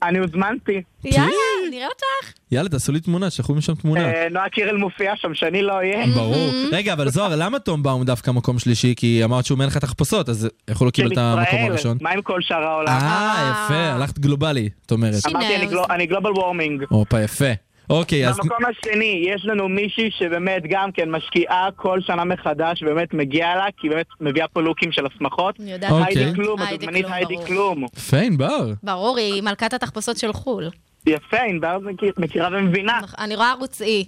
אני הוזמנתי. יאללה, נראה אותך. יאללה, תעשו לי תמונה, שלחו משם תמונה. אה, נועה קירל מופיעה שם, שאני לא אהיה. אוקיי. ברור. רגע, אבל זוהר, למה תום באום דווקא מקום שלישי? כי אמרת שהוא מלך התחפושות, אז איך הוא לא של קיבל את המקום ישראל. הראשון? מה עם כל שאר העולם? אה, יפה, הלכת גלובלי, את אומרת. אמרתי, אני גלו- אני גלובל וורמינג. הופה, יפה. אוקיי, אז... במקום השני, יש לנו מישהי שבאמת גם כן משקיעה כל שנה מחדש, באמת מגיע לה, כי היא באמת מביאה פה לוקים של הסמכות. אני אוקיי. יודעת. היידי כלום, אוקיי. היידי הדוגמנית כלום, היידי ברור. כלום. יפה, ענבר. ברור, היא מלכת התחפושות של חו"ל. יפה, ענבר מכיר- מכירה ומבינה. אני רואה ערוץ E. אי.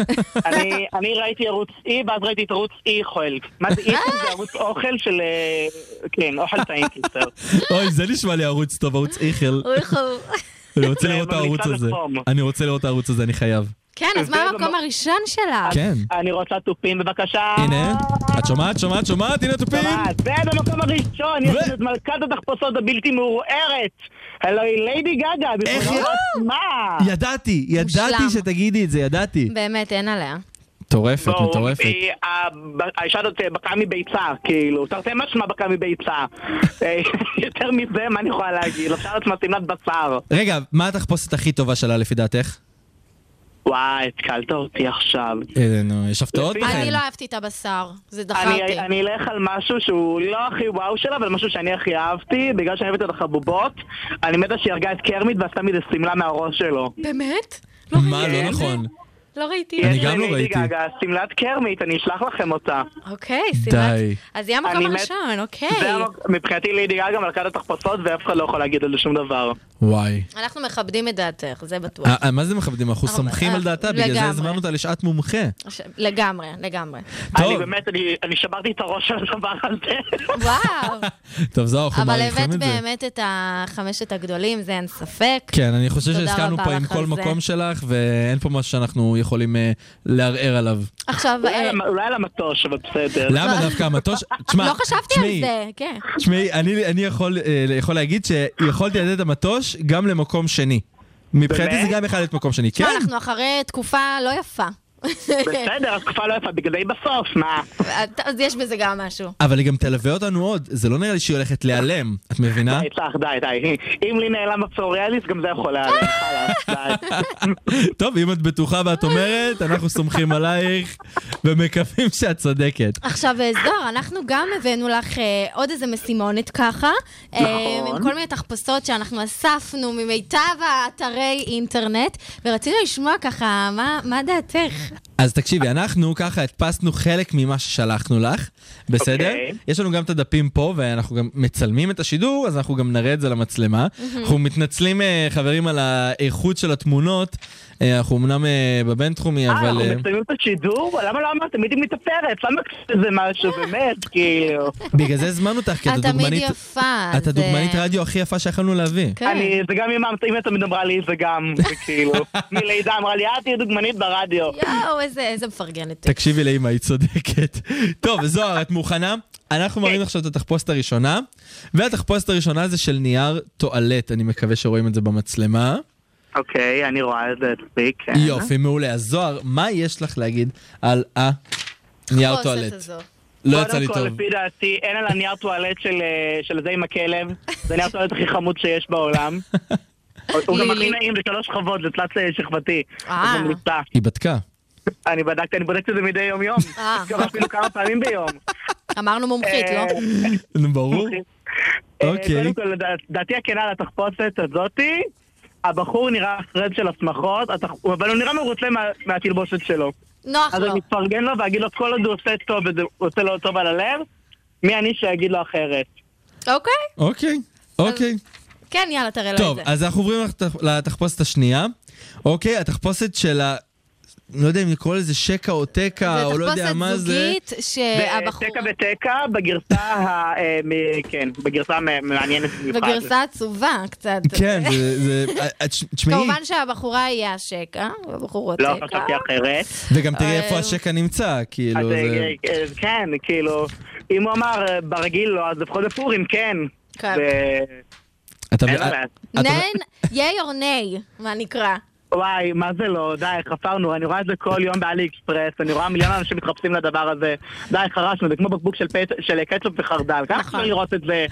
*laughs* אני- אני ראיתי ערוץ E, ואז ראיתי את ערוץ E חויל. מה זה E? אה! זה ערוץ אוכל של... אה, כן, אוכל טעים קיצר. אוי, זה נשמע לי ערוץ טוב, ערוץ איכל. אני רוצה לראות את הערוץ הזה. אני רוצה לראות את הערוץ הזה, אני חייב. כן, אז מה לא המקום הראשון שלה? כן. אני רוצה תופים בבקשה. הנה, את שומעת, שומעת, שומעת, הנה תופים. ממש. ובמקום הראשון יש לנו את מלכת התחפושות הבלתי מעורערת. הלו היא ליידי גגה. איך בזכות היא- עצמה. ידעתי, ידעתי מושלם. שתגידי את זה, ידעתי. באמת, אין עליה. מטורפת, בואו, אה, מטורפת. היא- ה- האישה הזאת אה, בקעה מביצה, כאילו, תרתי משמע בקעה מביצה. אה, *laughs* יותר מזה, מה אני יכולה להגיד? עכשיו עצמה שמלת בשר. רגע, מה התחפושת הכי טובה שלה לפי דעתך? וואי, התקלת אותי עכשיו. אה, נו, יש הפתעות אני בכלל? לא אהבתי את הבשר, זה דחה אותי. כן. אני, אני אלך על משהו שהוא לא הכי וואו שלה, אבל משהו שאני הכי אהבתי, בגלל שאני אוהבת את החבובות, אני מתה שהיא הרגה את קרמיט ועשתה מזה שמלה מהראש שלו. באמת? מה, לא נכון. לא ראיתי. אני גם לא לליידי ראיתי. גגה, שמלת קרמיט, אני אשלח לכם אותה. אוקיי, סיבת. די. אז היא אני המקום מת- הראשון, זה אוקיי. המק- מבחינתי לידי גגה מלכת התחפושות, ואף אחד לא יכול להגיד על זה שום דבר. וואי. אנחנו מכבדים את דעתך, זה בטוח. אה, אה, מה זה מכבדים? אנחנו אה, סומכים אה, על דעתה, בגלל זה לגמרי. הזמנו אותה לשעת מומחה. ש- לגמרי, לגמרי. אני טוב, באמת, אני- אני שברתי את הראש על הדבר הזה. וואו. טוב, זהו, *laughs* אנחנו אבל מעריכים הבאת את זה. באמת את החמשת הגדולים, זה אין ספק. כן, אני חושב תודה שהסכמנו רבה פה עם לך כל על זה. מקום שלך, ואין פה משהו שאנחנו יכולים אה, לערער עליו. עכשיו, אולי אה, על המ- אולי על המטוש, אבל בסדר. למה דווקא *laughs* המטוש? תשמע, לא חשבתי על תשמעי, זה, כן. תשמעי, אני אני יכול אה, יכול להגיד שיכולתי לתת את המטוש גם למקום שני. מבחינתי באמת? זה גם יכול להיות מקום שני, תשמע, כן? אנחנו אחרי תקופה לא יפה. בסדר, התקופה לא יפה, בגלל בסוף, מה? *laughs* אז יש בזה גם משהו. אבל היא גם תלווה אותנו עוד, זה לא נראה לי שהיא הולכת להיעלם, את *laughs* מבינה? די, צח, די, די. אם לי נעלם הפסוריאליס, גם זה יכול היה. חלאס, די. טוב, אם את בטוחה ואת אומרת, אנחנו סומכים עלייך ומקווים שאת צודקת. עכשיו, אה, זוהר, אנחנו גם הבאנו לך אה, עוד איזה משימונת ככה. אה, נכון. עם כל מיני תחפושות שאנחנו אספנו ממיטב האתרי אינטרנט, ורצינו לשמוע ככה, מה- מה דעתך? אז תקשיבי, אנחנו ככה הדפסנו חלק ממה ששלחנו לך, בסדר? אוקיי. יש לנו גם את הדפים פה, ואנחנו גם מצלמים את השידור, אז אנחנו גם נראה את זה למצלמה. אנחנו מתנצלים, אה, חברים, על האיכות של התמונות. אה, אנחנו אמנם אה, בבינתחומי, אה, אבל... אנחנו אה, מסיימים את השידור? למה לא אמרת? תמיד היא מתאפרת, למה קצת איזה משהו, *laughs* באמת, כאילו. בגלל זה הזמנו אותך, כי כן, את את תמיד הדוגמנית... יפה. את זה- הדוגמנית רדיו הכי יפה שיכולנו להביא. כן. אני, זה גם אם אמא תמיד אמרה לי, זה גם, זה *laughs* כאילו. מלידה אמרה לי, את תהיי דוגמנית ברדיו. יואו, איזה איזה מפרגנת. תקשיבי לאמא, היא צודקת. טוב, זוהר, את מוכנה? אנחנו כן. מראים לך עכשיו את התחפושת הראשונה, והתחפושת הראשונה זה של נייר טואלט, אני מקווה שרואים את זה במצלמה. אוקיי, אני רואה את זה מספיק. כן. אה? יופי, מעולה. אז זוהר, מה יש לך להגיד על הנייר התחפושת טואלט? הזו. לא יצא לי קודם טוב. כל, לפי דעתי, אין על הנייר טואלט של, אה, של זה עם *laughs* הכלב. זה הנייר טואלט הכי חמוד שיש *laughs* בעולם. הוא גם הכי לילי. נעים, זה שלוש שכבות, זה תלת אה, שכבתי. אה. אז ממליצה. היא בדקה. אני בדקתי, אני בודקת את זה מדי יום-יום. אה. גם אפילו כמה פעמים ביום. אמרנו מומחית, אה, לא? נו, ברור. אה, אוקיי. קודם כל, לדע- דעתי הכנה על התחפושת הזאתי, הבחור נראה פרד של הסמכות, התח- אבל הוא נראה מרוצה מה- מהתלבושת שלו. נוח אז לו. אני אפרגן לו ואגיד לו, כל עוד הוא עושה טוב וזה עושה לו טוב על הלב, מי אני שיגיד לו אחרת? אוקיי? אוקיי. אוקיי. כן, יאללה, תראה לו את טוב, זה. אז אנחנו עוברים לתח- לתחפושת השנייה. אוקיי, התחפושת של ה... לא יודע אם לקרוא לזה שקע או תקע, או לא יודע מה זה. זוגית אה, שהבחור... תקה ותקה בגרסה, ה- אה, מ- כן, בגרסה מ- מעניינת במיוחד. בגרסה עצובה קצת. כן, זה- *laughs* זה... את- את- תשמעי, כמובן שהבחורה היא אה? השקע, והבחור לא, התקע. חשבתי אחרת. וגם תראי אה, איפה השקע נמצא, כאילו. אז אה, זה- אה, אה, כן, כאילו, אם הוא אמר אה, ברגיל לא, אז לפחות בפורים כן. כן. אתה- אין את- בעיה. את- נן, יאי אור ניי, מה נקרא. וואי, מה זה לא, די, חפרנו, אני רואה את זה כל יום באלי אקספרס, אני רואה מיליון אנשים מתחפשים לדבר הזה. די, חרשנו, זה כמו בקבוק של פט- של קטשופ וחרדל, ככה נכון. אפשר לראות את זה.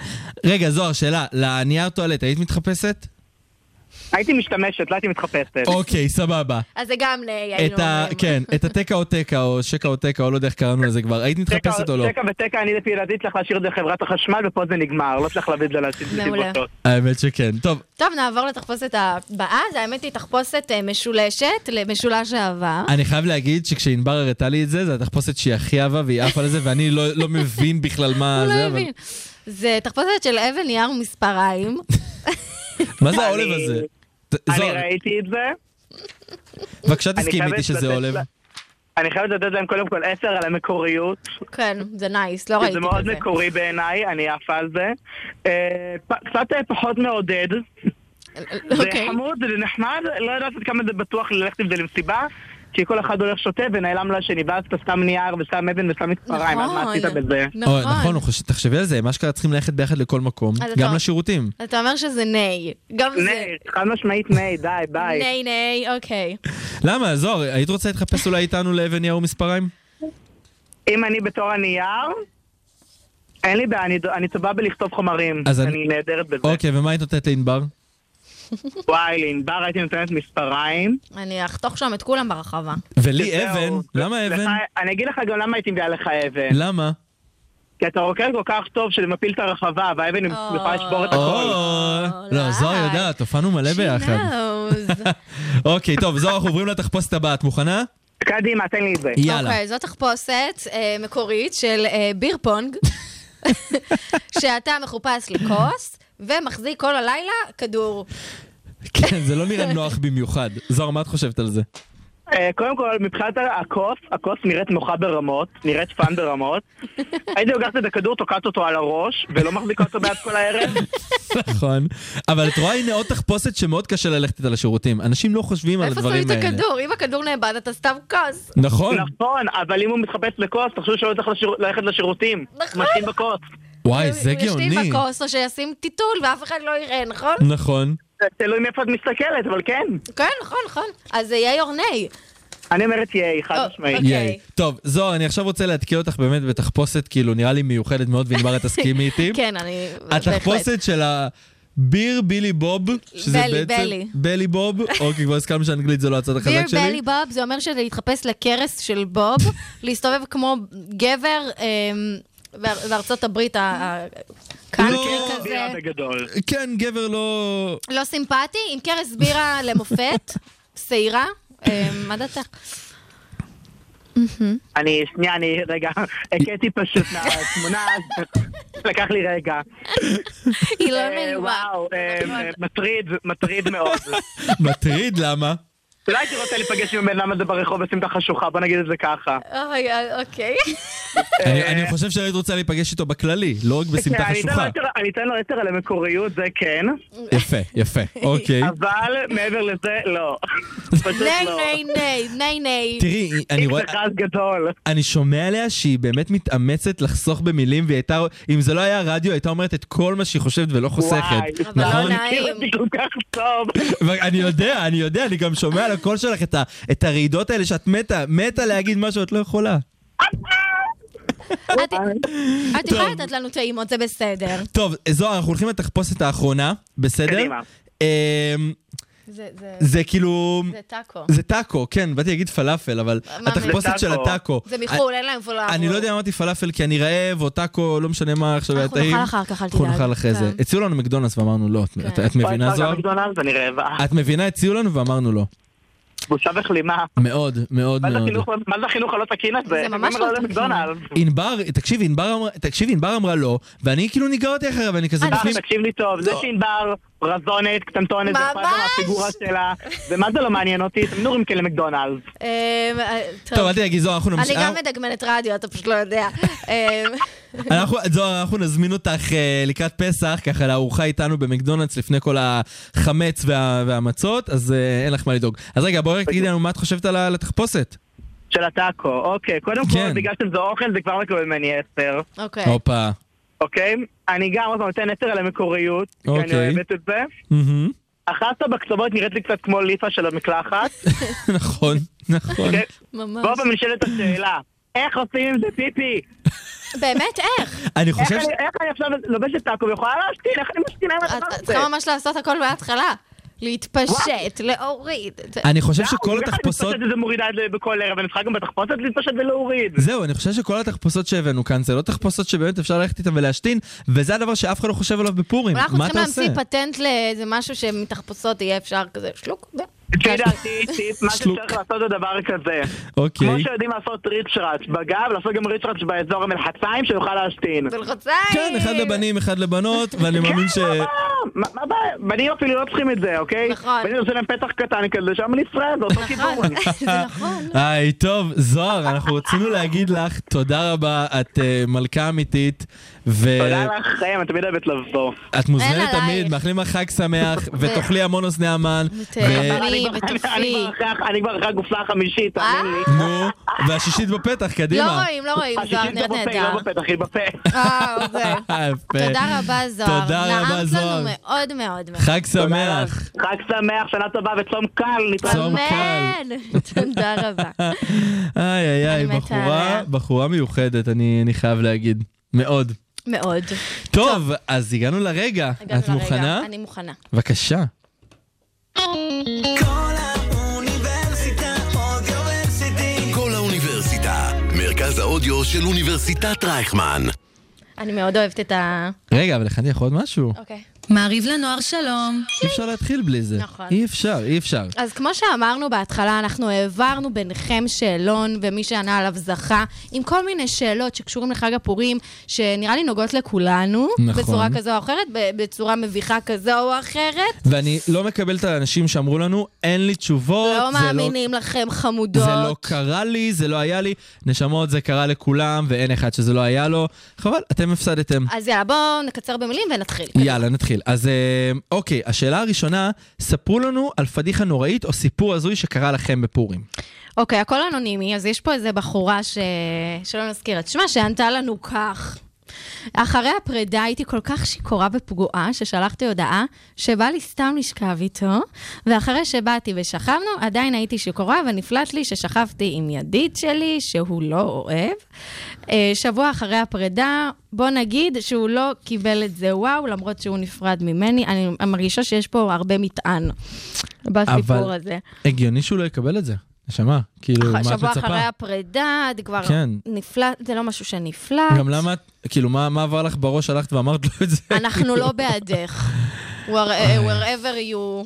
רגע, זוהר, שאלה, לנייר טואלט היית מתחפשת? כן. הייתי משתמשת, לא הייתי מתחפשת. אוקיי, סבבה. אז זה גם ניי, את היינו ה... אומרים. כן, את התקה או תקה, או שקע או תקה, או לא יודע איך קראנו לזה כבר, היית מתחפשת או לא? תקע ותקע, אני לפי ילדית צריך להשאיר את זה לחברת החשמל, ופה זה נגמר, לא צריך להביא את זה מעולה. לסיבותות. האמת שכן. טוב, טוב, נעבור לתחפושת הבאה, זה האמת היא תחפושת אה, משולשת למשולש העבר. אני חייב להגיד שכשענבר הראתה לי את זה, זו התחפושת שהיא הכי אהבה והיא עפה על זה, ואני לא לא מבין בכלל מה הוא זה, לא אבל... הבין. זה תחפושת של אבן נייר *laughs* ומספריים. מה זה העולב הזה? ת- אני זוהר, ראיתי את זה. בבקשה אני תסכים חייבת איתי שזה לתת עולב. לה- אני חייבת לתת להם קודם כל עשר על המקוריות. כן, זה נייס, לא ראיתי זה כזה. מאוד מקורי בעיניי, אני עפה על זה. אה, פ- קצת אה, פחות מעודד. זה אוקיי. חמוד, זה נחמד, לא יודעת עד כמה זה בטוח ללכת עם זה למסיבה. כי כל אחד הולך שותה ונעלם לשני, ואז אתה שם נייר ושם אבן ושם מספריים, אז נכון, מה עשית בזה? אוי, נכון, הוא חושב- תחשבי על זה, מה שקרה צריכים ללכת ביחד לכל מקום, אז גם לא. אתה- לשירותים. אתה אומר שזה ניי. גם זה. ניי, חד משמעית ניי, די, ביי. ניי, ניי, אוקיי. למה, זוהר, היית רוצה להתחפש אולי איתנו לאבן יאור מספריים? אם אני בתור הנייר, אין לי בעיה, אני- אני טובה בלכתוב חומרים. אז אני- אני נהדרת בזה. אוקיי, ומה היית נותנת לענבר? וואי, לענבר הייתי נותנת מספריים. אני אחתוך שם את כולם ברחבה. ולי וזהו. אבן, למה לך- אבן? אני אגיד לך גם למה הייתי מביאה לך אבן. למה? כי אתה רוקד כל כך טוב שזה מפיל את הרחבה, והאבן יכולה לשבור את הכל. לא, זוהר יודעת, הופענו מלא ביחד. אוקיי, טוב, זוהר, אנחנו עוברים לתחפושת הבאה, את מוכנה? קדימה, תן לי את זה. יאללה. אוקיי, זו תחפושת אה, מקורית של אה, ביר *laughs* פונג, שאתה מחופש לכוס ומחזיק כל הלילה כדור. כן, זה לא נראה נוח במיוחד. זוהר, מה את חושבת על *laughs* זה? אה, קודם כל, מבחינת הכוס, הכוס נראית נוחה ברמות, נראית פאן ברמות. הייתי לוקחת את הכדור, תוקעת אותו על הראש, ולא מחזיקה אותו בעד כל הערב. נכון. אבל את רואה, הנה עוד תחפושת שמאוד קשה ללכת איתה לשירותים. אנשים לא חושבים על איפה שמים הדברים את האלה. הכדור? לא. אם הכדור נאבד, אתה סתם כוס. נכון. נכון, אבל אם הוא מתחפש לכוס, תחשוב שלא צריך לשיר- ללכת לשירותים. נכון. מתאים בכוס. וואי, זה הוא גאוני. ישתין בכוס או שישים טיטול ואף אחד לא יראה, *laughs* נכון? נכון. זה תלוי מאיפה את מסתכלת, אבל כן. כן, נכון, נכון. אז זה יהיה יורני. אני אומרת ייי, חד משמעית. אוקיי. ייי. טוב, זוהר, אני עכשיו רוצה להתקיע אותך באמת בתחפושת, כאילו, נראה לי מיוחדת מאוד, וענבר, את *laughs* תסכימי איתי. כן, אני... התחפושת של הביר בילי בוב, שזה בלי, בעצם... בלי. בלי בוב. אוקיי, כבר הסכמנו שאנגלית זה לא הצד דיר החזק שלי. בלי בוב, זה אומר שזה להתחפש לכרס של *laughs* בוב, להסתובב כמו גבר אמ, באר- בארצות הברית, ה- ה- קאנטרי לא. כזה. בגדול. כן, גבר לא... לא סימפטי, עם כרס בירה למופת, שעירה. אמ, מה דעתך? אני, שנייה, אני, רגע, הכיתי פשוט מהתמונה, אז לקח לי רגע. היא לא אה, נעימה. וואו, אה, מטריד, מטריד מאוד. מטריד, *laughs* למה? אולי הייתי רוצה להיפגש עם הבן אדם הזה ברחוב ושים את החשוכה, בוא נגיד את זה ככה. אוי, אוי, אוקיי. אני אני חושב שהיית רוצה להיפגש איתו בכללי, לא רק בסמטה כן, אני אתן לו חשוכה. עשר- אני אתן לו עשר על המקוריות, זה כן, יפה, *laughs* יפה, אוקיי. אבל מעבר לזה, לא. *laughs* פשוט ניי, לא. ניי, ניי, ניי, *laughs* ניי. תראי, אני רואה... מכרז גדול. אני שומע עליה שהיא באמת מתאמצת לחסוך במילים, והיא הייתה, אם זה לא היה רדיו, הייתה אומרת את כל מה שהיא חושבת ולא חוסכת. וואי, אבל לא נכון? אני נעים. מכיר אותי כל כך טוב. אני יודע, אני יודע, אני גם שומע על הקול שלך את ה- את הרעידות האלה שאת מתה, מתה להגיד מה שאת לא יכולה. את- את יכולה לתת לנו טעימות, זה בסדר. טוב, אה, זוהר, אנחנו הולכים לתחפושת האחרונה, בסדר? קדימה. אמ, זה זה- זה כאילו... זה טאקו. זה טאקו, כן, באתי להגיד פלאפל, אבל מה, התחפושת זה של טאקו? הטאקו. זה מחו"ל, אין להם פולאפו. אני לא יודע אם אמרתי פלאפל כי אני רעב, או טאקו, לא משנה מה עכשיו היה אנחנו נאכל טעים. אחר כך, אל אנחנו תדאג. נאכל אחרי כן. זה. הציעו לנו מקדונלדס ואמרנו לא. את- את- את מבינה וואי, זוהר? גם מקדונלדס, אני רעבה. את מבינה, הציעו לנו ואמרנו לא. בושה וכלימה. מאוד, מאוד מה זה מאוד. כאילו? החינוך- לא- מה זה החינוך הלא תקין הזה? זה ממש לא תקין. מקדונלדס. ענבר, תקשיב, ענבר אמרה- תקשיב, ענבר אמרה לא, ואני כאילו ניגרתי אחריה, ואני כזה אני בפנים... תקשיב לי "אה, טוב, זה שענבר רזונת, קטנטונת, זה אכפת לו ממש. מהפיגורה שלה, ומה זה לא מעניין אותי? אתם נורים כאלה מקדונלדס. אמ, אה, טוב, אל תדאגי, זוהר, אנחנו אני נמשיך. אה, גם מדגמנת רדיו, אתה פשוט לא יודע. אמ, אנחנו, זוהר, אנחנו נזמין אותך אה, לקראת פסח, ככה לארוחה איתנו במקדונלדס לפני כל החמץ וה, והמצות, אז אה, אין לך מה לדאוג. אז רגע, בואי רק תגידי לנו מה את חושבת על ה- על התחפושת. של הטאקו, אוקיי. קודם כן. כל, בגלל שזה אוכל, זה כבר מקבל ממני עשר. אוקיי. הופה. אוקיי? אני גם עוד פעם נותן עשר על המקוריות, כי אני אוקיי. אוהבת את זה. מהמם. החסה בקצוות נראית לי קצת כמו ליפה של המקלחת. נכון, נכון. אוקיי? ממש. ועוד פעם נשאלת השאלה, איך עושים עם זה פיפי? באמת, איך? אני איך חושב ש... אני- איך אני עכשיו לובשת טאקו ויכולה להשתין? איך אני משתינה עם הדבר את את הזה? צריכה ממש לעשות הכל מההתחלה. להתפשט, להוריד. זה- אני חושב די, שכל איך אני התחפושות... מתפשטת את זה מורידה את זה בכל ערב, אני צריכה גם בתחפושת להתפשט *laughs* ולהוריד. זהו, אני חושב שכל התחפושות שהבאנו כאן זה לא תחפושות שבאמת אפשר ללכת איתן ולהשתין, וזה הדבר שאף אחד לא חושב עליו בפורים. אולי אנחנו מה צריכים אתה עושה? להמציא פטנט לאיזה משהו שמתחפושות יהיה אפשר כזה שלוק. זה. לפי דעתי, טיפ, מה שלוק. שצריך לעשות זה דבר כזה. כמו אוקיי. שיודעים לעשות ריצ'ראץ' בגב, לעשות גם ריצ'ראץ' באזור המלחציים, שיוכל להשתין. בלחציים. כן, אחד לבנים, אחד לבנות, ואני מאמין *laughs* ש... כן, מה מה הבעיה? בנים אפילו לא צריכים את זה, אוקיי? נכון. בנים עושים להם פתח קטן כזה, שם נפרד, זה אותו כיוון. *laughs* נכון, *laughs* זה נכון. היי, טוב, זוהר, אנחנו רצינו להגיד לך תודה רבה, את אה, מלכה אמיתית, תודה ואת לכם, אני תמיד אוהבת לבוא. מוזמנת אין עלייך. תמיד, מאחלים לך חג שמח, ותאכלי המון אוזני המן, ו- תהני אני- אני ותופי. כבר אחרי הח- אני כבר אחרי הגופה החמישית, אה? תאמין לי. נו, והשישית בפתח, לא קדימה. רואים, לא רואים, זוהר, השישית לא נראית בפה, נהדר. לא בפתח, היא בפה. אה, *laughs* אוקיי. יפה. תודה רבה, זוהר. תודה רבה, זוהר. נעמת לנו מאוד מאוד מאוד. חג תודה שמח. *laughs* לך. חג שמח, שנה טובה וצום קל, נתראה. צום קל. אמן. *laughs* תודה רבה. איי איי איי, אני מתה בחורה, עליה. בחורה מיוחדת, אני אני חייב להגיד. מאוד. מאוד. טוב, אז הגענו לרגע. הגענו את לרגע. מוכנה? אני מוכנה. בבקשה. כל האוניברסיטה אודיוורסיטי. כל האוניברסיטה, מרכז האודיו של אוניברסיטת רייכמן. אני מאוד אוהבת את ה... רגע, אבל הכנתי לך עוד משהו. אוקיי. מעריב לנוער שלום. אי אפשר להתחיל בלי זה. נכון. אי אפשר, אי אפשר. אז כמו שאמרנו בהתחלה, אנחנו העברנו ביניכם שאלון, ומי שענה עליו זכה, עם כל מיני שאלות שקשורים לחג הפורים, שנראה לי נוגעות לכולנו, נכון. בצורה כזו או אחרת, ב- בצורה מביכה כזו או אחרת. ואני לא מקבל את האנשים שאמרו לנו, אין לי תשובות. לא זה מאמינים לכם, חמודות. זה לא קרה לי, זה לא היה לי. נשמות, זה קרה לכולם, ואין אחד שזה לא היה לו. חבל, אתם הפסדתם. אז יאללה, בואו נקצר במילים ונתחיל. יאללה, נתחיל. אז אה, אוקיי, השאלה הראשונה, ספרו לנו על פדיחה נוראית או סיפור הזוי שקרה לכם בפורים. אוקיי, הכל אנונימי, אז יש פה איזה בחורה ש... שלא נזכיר את שמה, שענתה לנו כך. אחרי הפרידה הייתי כל כך שיכורה ופגועה, ששלחתי הודעה שבא לי סתם לשכב איתו, ואחרי שבאתי ושכבנו, עדיין הייתי שיכורה, ונפלט לי ששכבתי עם ידיד שלי, שהוא לא אוהב. אה, שבוע אחרי הפרידה, בוא נגיד שהוא לא קיבל את זה וואו, למרות שהוא נפרד ממני. אני אני מרגישה שיש פה הרבה מטען בסיפור אבל- הזה. הגיוני שהוא לא יקבל את זה. נשמה, כאילו, מה את אח- מצפה? שבוע אחרי הפרידה, את כבר כן. נפלט, זה לא משהו שנפלט. גם למה, את- כאילו, מה מה עבר לך בראש, הלכת ואמרת לו את זה? אנחנו לא *laughs* בעדך. Where- wherever you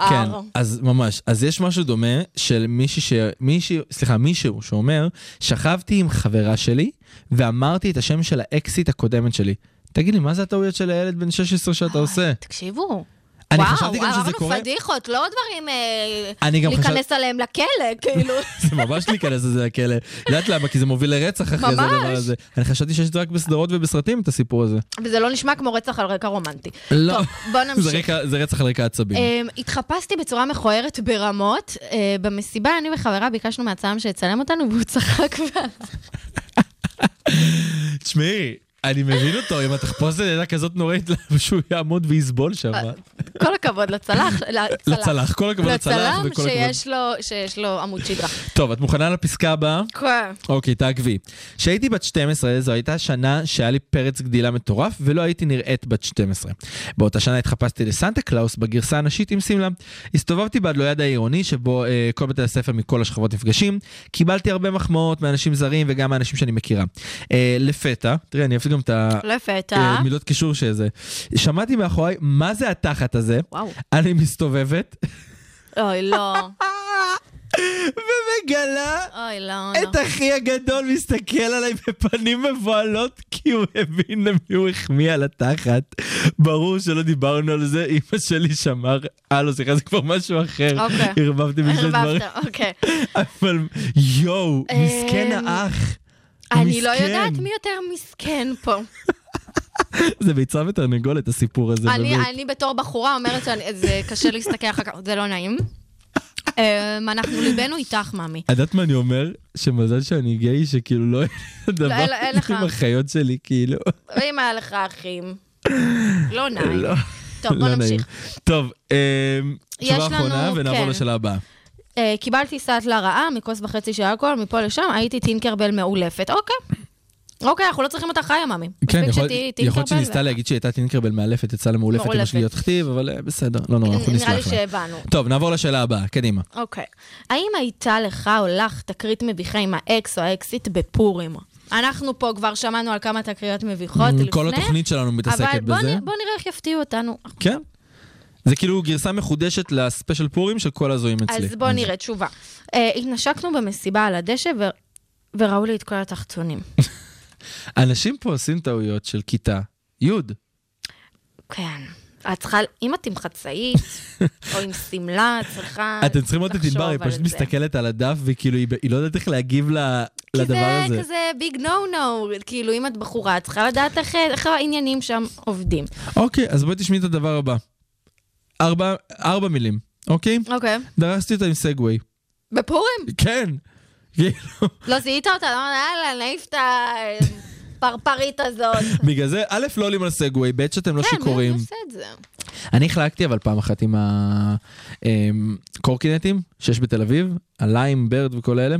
אה, כן, are. אז ממש. אז יש משהו דומה של מישהי ש... מישהי, סליחה, מישהו שאומר, שכבתי עם חברה שלי ואמרתי את השם של האקסיט הקודמת שלי. תגיד לי, מה זה הטעויות של הילד בן 16 שאתה עושה? תקשיבו. אני וואו, חשבתי גם שזה אמרנו קורה... פדיחות, לא דברים אה, אני גם חשב- להיכנס עליהם לכלא, כאילו. *laughs* זה ממש להיכנס לזה לכלא. את יודעת למה? כי זה מוביל לרצח אחרי זה ממש. הדבר הזה. אני חשבתי שיש רק בסדרות ובסרטים את הסיפור הזה. וזה לא נשמע כמו רצח על רקע רומנטי. לא. טוב, בוא *laughs* זה נמשיך. רקע- זה רצח על רקע עצבים. אמ, התחפשתי בצורה מכוערת ברמות. אה, במסיבה, אני וחברה ביקשנו מהצלם שיצלם אותנו, והוא צחק *laughs* והלך. תשמעי, אני מבין אותו, אם התחפושת הייתה כזאת נוראית, *laughs* למה שהוא יעמוד ויסבול שם? אה. כל הכבוד לצלח. לצלח. לצלח, כל הכבוד לצלח לצלם וכל הכבוד. שיש לו, שיש לו עמוד שדרה. טוב, את מוכנה לפסקה הבאה? כן. אוקיי, תעקבי. כשהייתי בת 12, זו הייתה שנה שהיה לי פרץ גדילה מטורף, ולא הייתי נראית בת 12. באותה שנה התחפשתי לסנטה קלאוס בגרסה הנשית עם שמלה. הסתובבתי בדלויד העירוני, שבו אה, כל בתי הספר מכל השכבות נפגשים. קיבלתי הרבה מחמאות מאנשים זרים וגם מאנשים שאני מכירה. אה, לפתע, תראי, אני אוהב גם את ה... לא לפתע. אה, מילות קישור שזה. שמעתי מאחוריי, מה זה התחת הזה? וואו. אני מסתובבת *laughs* אוי, לא. לא, ומגלה אוי, לא. נכון. את אחי הגדול מסתכל עליי בפנים מבוהלות, כי כי הוא הבין למי הוא החמיא על התחת. ברור שלא דיברנו על זה, אמא שלי שמר, אה לא סליחה זה כבר משהו אחר, אוקיי. ערבבתי בשני דברים, ערבבת, אוקיי. אבל יואו, מסכן אמ, האח, אני לא מסכן. יודעת מי יותר מסכן פה. זה ביצה ותרנגולת הסיפור הזה, אני, באמת. אני בתור בחורה אומרת שזה קשה להסתכל אחר כך, זה לא נעים. אמ, אנחנו ליבנו איתך, מאמי. את יודעת מה אני אומר? שמזל שאני גיי, שכאילו לא אין הדבר אין- אין לך. עם החיות שלי, כאילו. אם היה לך אחים, לא נעים. לא. טוב, בוא לא נעים. נמשיך. טוב, אמ, יש תשובה לנו- אחרונה ונעבור כן. לשאלה הבאה. אה, קיבלתי סטלה רעה מכוס וחצי של אלכוהול, מפה לשם, הייתי טינקרבל מאולפת. אוקיי. אוקיי, אנחנו לא צריכים אותך חיה, מאמי. כן, מספיק יכול שתהיי יכול טינקרבל להיות שניסתה להגיד שהיא הייתה טינקרבל מאלפת, יצאה לה מאולפת עם מאולפת. השגיאות כתיב, אבל אה, בסדר, לא נורא, אנחנו נראה לי נסלח לה. שהבנו. טוב, נעבור לשאלה הבאה, קדימה. אוקיי. האם הייתה לך או לך תקרית מביכה עם האקס או האקסיט בפורים? אנחנו פה כבר שמענו על כמה תקריות מביכות לפני. כל התוכנית שלנו מתעסקת אבל בוא בזה. נ- בוא נראה איך יפתיעו אותנו. כן. זה כאילו גרסה מחודשת לספיישל פורים של כל הזויים אצלי. אז בוא נראה, תשובה. אה, התנשקנו במסיבה על הדשא ו- וראו לי את כל התחתונים. אנשים פה עושים טעויות של כיתה י'. כן. את צריכה, אם את עם חצאית, או עם שמלה, את צריכה אתם צריכים לראות את לחשוב ענבר, היא אה, על פשוט זה. מסתכלת על הדף, וכאילו היא ב- היא לא יודעת איך להגיב ל- לדבר זה הזה. כזה ביג נו נו, כאילו אם את בחורה, את צריכה לדעת איך- איך העניינים שם עובדים. אוקיי, אז בואי תשמעי את הדבר הבא. ארבע, ארבע מילים, אוקיי? אוקיי. דרסתי אותה עם סגווי. בפורים? כן. כאילו, לא זיהית אותה, אמרת, יאללה, נעיף את הפרפרית *laughs* הזאת. בגלל זה, א', לא עולים על סגווי, ב', שאתם לא כן, מי שיכורים. עושה את זה? אני החלקתי אבל פעם אחת עם הקורקינטים שיש בתל אביב, הליים, ברד וכל אלה.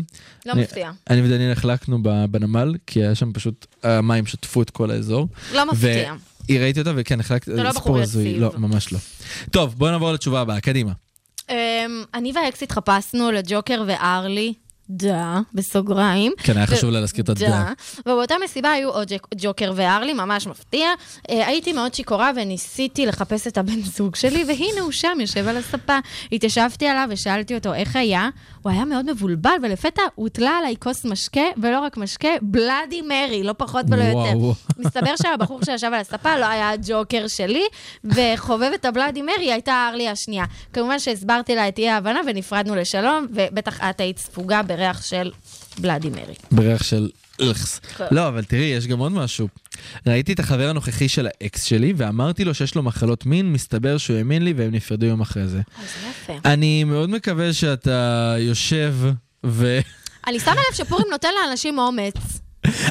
לא אני- מפתיע. אני ודניאל החלקנו ב- בנמל, כי היה שם פשוט, המים שטפו את כל האזור. לא מפתיע. והיא ראיתי אותה, וכן, החלקתי, זה לא סיפור בחור הזוי. יציב. לא, ממש לא. טוב, בואו נעבור לתשובה הבאה, קדימה. אמ, אני והאקס התחפשנו לג'וקר וארלי, דה, בסוגריים. כן, היה ו- חשוב לה להזכיר את הדעה. דה. ובאותה מסיבה היו עוד ג'ק- ג'וקר והרלי, ממש מפתיע. אה, הייתי מאוד שיכורה וניסיתי לחפש את הבן זוג שלי, והנה הוא שם, יושב על הספה. התיישבתי עליו ושאלתי אותו איך היה. הוא היה מאוד מבולבל, ולפתע הוטלה עליי כוס משקה, ולא רק משקה, בלאדי מרי, לא פחות ולא וואו. יותר. מסתבר שהבחור שישב על הספה לא היה הג'וקר שלי, וחובבת הבלאדי מרי הייתה הארלי השנייה. כמובן שהסברתי לה את אי ההבנה ונפרדנו לשלום, ובטח את היית ספוגה בריח של בלאדי מרי. בריח של איכס. כן. לא, אבל תראי, יש גם עוד משהו. ראיתי את החבר הנוכחי של האקס שלי, ואמרתי לו שיש לו מחלות מין, מסתבר שהוא האמין לי והם נפרדו יום אחרי זה. זה יפה. אני מאוד מקווה שאתה יושב *laughs* ו... אני שמה לב שפורים נותן לאנשים אומץ.